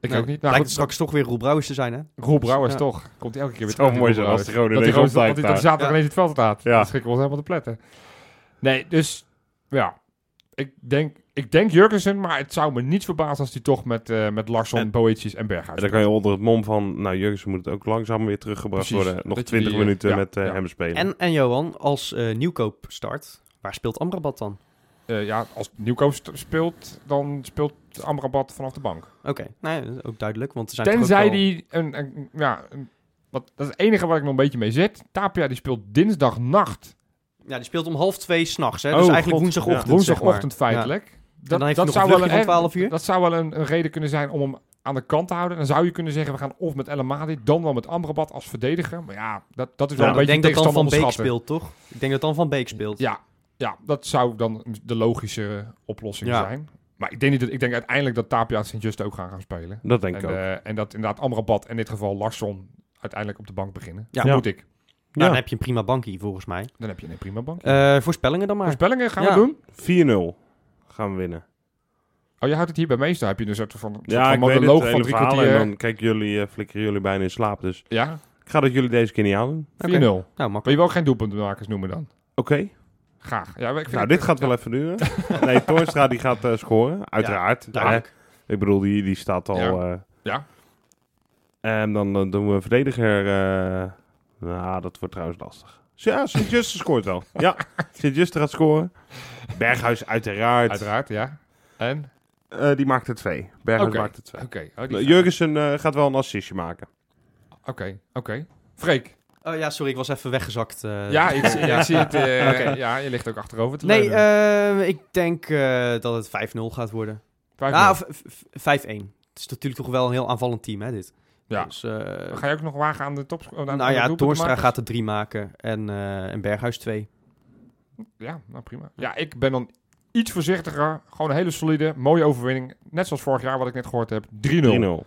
Speaker 3: Ik
Speaker 2: Nee.
Speaker 3: ook niet. Nou,
Speaker 2: Lijkt
Speaker 3: goed,
Speaker 2: het straks toch weer Roel Brouwers te zijn hè?
Speaker 3: Roel Brouwers
Speaker 2: Ja.
Speaker 3: toch. Komt elke keer weer
Speaker 1: Het zou
Speaker 3: terug.
Speaker 1: mooi
Speaker 3: die
Speaker 1: zijn
Speaker 3: Roel
Speaker 1: als de
Speaker 3: Brouwers.
Speaker 1: Groningen
Speaker 3: Dat die
Speaker 1: ineens
Speaker 3: gozer- dat
Speaker 1: opduikt
Speaker 3: hij- dat hij
Speaker 1: daar.
Speaker 3: zaterdag
Speaker 2: Ja.
Speaker 3: ineens het veld staat.
Speaker 1: Ja.
Speaker 3: Dat schrikken we ons helemaal te pletten. Nee, dus ja. Ik denk, ik denk Jurgensen, maar het zou me niet verbazen als hij toch met, eh met Larsson,
Speaker 1: En-
Speaker 3: Boetjes en Berghuis.
Speaker 1: En dan kan je onder het mom van, nou Jurgensen moet het ook langzaam weer teruggebracht
Speaker 3: Precies.
Speaker 1: worden. Nog
Speaker 3: Dat je
Speaker 1: 20
Speaker 3: die, eh,
Speaker 1: minuten
Speaker 3: ja,
Speaker 1: met eh,
Speaker 3: ja.
Speaker 1: hem spelen.
Speaker 2: En, en Johan, als eh, nieuwkoop start, waar speelt Amrabat dan?
Speaker 3: Eh, ja, als Nieuwkoop st- speelt, dan speelt Amrabat vanaf de bank.
Speaker 2: Oké, nou ja, dat is ook duidelijk. Want er zijn toch ook
Speaker 3: Tenzij
Speaker 2: wel-
Speaker 3: die een, een- ja, een- wat, dat is het enige waar ik nog een beetje mee zit. Tapia die speelt dinsdagnacht
Speaker 2: Ja, die speelt om half twee s'nachts. hè?
Speaker 1: Oh,
Speaker 2: Dus eigenlijk
Speaker 1: god.
Speaker 2: woensdagochtend.
Speaker 1: Ja.
Speaker 3: Woensdagochtend
Speaker 2: zeg maar.
Speaker 3: feitelijk.
Speaker 2: En dan heeft hij nog een vluchtje van 12 uur.
Speaker 3: Dat zou wel een, een reden kunnen zijn om hem aan de kant te houden. Dan zou je kunnen zeggen, we gaan of met El Amadi, dan wel met Amrabat als verdediger. Maar ja, dat, dat is wel
Speaker 1: Ja,
Speaker 3: een
Speaker 2: ik
Speaker 3: beetje
Speaker 2: denk dat dan
Speaker 3: tegenstand
Speaker 2: Van Beek
Speaker 3: onderschatten.
Speaker 2: speelt, toch? Ik denk dat dan Van Beek speelt.
Speaker 3: Ja, ja, dat zou dan de logische eh, oplossing
Speaker 2: Ja.
Speaker 3: zijn. Maar ik denk, niet dat, ik denk uiteindelijk dat Tapia en Sint-Just ook gaan gaan spelen.
Speaker 1: dat denk
Speaker 3: en,
Speaker 1: ik ook.
Speaker 3: eh, en dat inderdaad Amrabat, in dit geval Larsson, uiteindelijk op de bank beginnen.
Speaker 2: Ja.
Speaker 3: Dat moet ik.
Speaker 2: Nou, dan
Speaker 1: ja,
Speaker 2: heb je een prima bankie, volgens mij.
Speaker 3: Dan heb je een prima bank.
Speaker 2: Eh, voorspellingen dan maar.
Speaker 3: Voorspellingen gaan
Speaker 2: Ja.
Speaker 3: we doen.
Speaker 1: 4-0 gaan we winnen.
Speaker 3: Oh, je houdt het hier bij meester. Heb je een soort van, soort
Speaker 1: Ja,
Speaker 3: van
Speaker 1: ik weet het,
Speaker 3: monoloog
Speaker 1: hele
Speaker 3: van drie
Speaker 1: verhaal.
Speaker 3: kwartier.
Speaker 1: En dan kijk jullie, eh, flikkeren jullie bijna in slaap. Dus
Speaker 3: Ja, 4-0.
Speaker 1: ik ga dat jullie deze keer niet aandoen.
Speaker 2: Oké. Nou, makkelijk.
Speaker 3: Wil je wel geen doelpuntenmakers noemen dan?
Speaker 1: Oké.
Speaker 3: Graag. Ja, maar ik vind
Speaker 1: Nou,
Speaker 3: het-
Speaker 1: dit gaat wel even duren. Nee, Toornstra die gaat eh, scoren, uiteraard.
Speaker 2: Duidelijk.
Speaker 1: Eh, ik bedoel, die, die staat al...
Speaker 3: Ja.
Speaker 1: eh,
Speaker 3: Ja.
Speaker 1: En dan, eh, doen we een verdediger... eh, nou, dat wordt trouwens lastig. Ja, Sint-Juste scoort wel. Ja, Sint-Juste gaat scoren. Berghuis uiteraard.
Speaker 3: Uiteraard, ja. En?
Speaker 1: Eh, die maakt er twee. Berghuis
Speaker 3: Oké.
Speaker 1: maakt er twee.
Speaker 3: Oké. oh, die-
Speaker 1: Nou, Jurgensen eh, gaat wel een assistje maken.
Speaker 3: Oké, oké. Freek.
Speaker 2: Oh ja, sorry, ik was even weggezakt. eh.
Speaker 3: Ja, ik, zie- ja, ik zie het. eh,
Speaker 2: Oké.
Speaker 3: Ja, je ligt ook achterover te
Speaker 2: Nee,
Speaker 3: leunen.
Speaker 2: eh, ik denk eh, dat het 5-0 gaat worden.
Speaker 3: Vijf
Speaker 2: Ah,
Speaker 3: nul.
Speaker 2: of v- v- 5-1. Het is natuurlijk toch wel een heel aanvallend team, hè, dit.
Speaker 3: Ja.
Speaker 2: Dus, eh,
Speaker 3: Ga je ook nog wagen aan de top? aan- aan de
Speaker 2: nou ja,
Speaker 3: doelpuntenmakers?
Speaker 2: Toornstra gaat er drie maken en, eh, en Berghuis twee.
Speaker 3: Ja, nou prima. Ja, ik ben dan iets voorzichtiger. Gewoon een hele solide, mooie overwinning. Net zoals vorig jaar, wat ik net gehoord heb. 3-0.
Speaker 1: 3-0.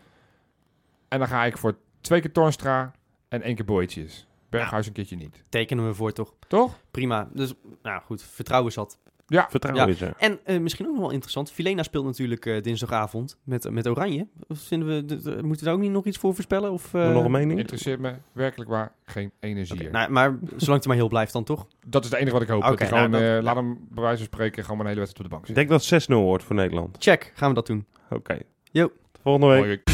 Speaker 3: En dan ga ik voor twee keer Torstra en één keer Boetjes. Berghuis een keertje niet.
Speaker 2: Tekenen we voor, toch?
Speaker 3: Toch?
Speaker 2: Prima. Dus, nou goed, vertrouwen zat.
Speaker 3: Ja.
Speaker 1: Vertrouwen
Speaker 2: Ja.
Speaker 1: is er.
Speaker 2: En eh, misschien ook nog wel interessant, Filena speelt natuurlijk eh, dinsdagavond met, met Oranje. Of Vinden we, d- d- moeten we daar ook niet nog iets voor voorspellen? Of, eh,
Speaker 1: nog een mening?
Speaker 3: Interesseert me werkelijk waar geen energie.
Speaker 2: Oké,
Speaker 3: in.
Speaker 2: nou, maar zolang het maar heel blijft dan toch?
Speaker 3: dat is het enige wat ik hoop.
Speaker 2: Oké,
Speaker 3: Dat hij
Speaker 2: nou,
Speaker 3: gewoon,
Speaker 2: dat-
Speaker 3: eh, laat hem bij wijze van spreken gewoon maar een hele wedstrijd op de bank
Speaker 1: Ik
Speaker 3: zitten.
Speaker 1: denk dat het 6-0 wordt voor Nederland.
Speaker 2: Check, gaan we dat doen.
Speaker 1: Oké.
Speaker 2: Yo.
Speaker 1: Volgende week.
Speaker 3: Mooi.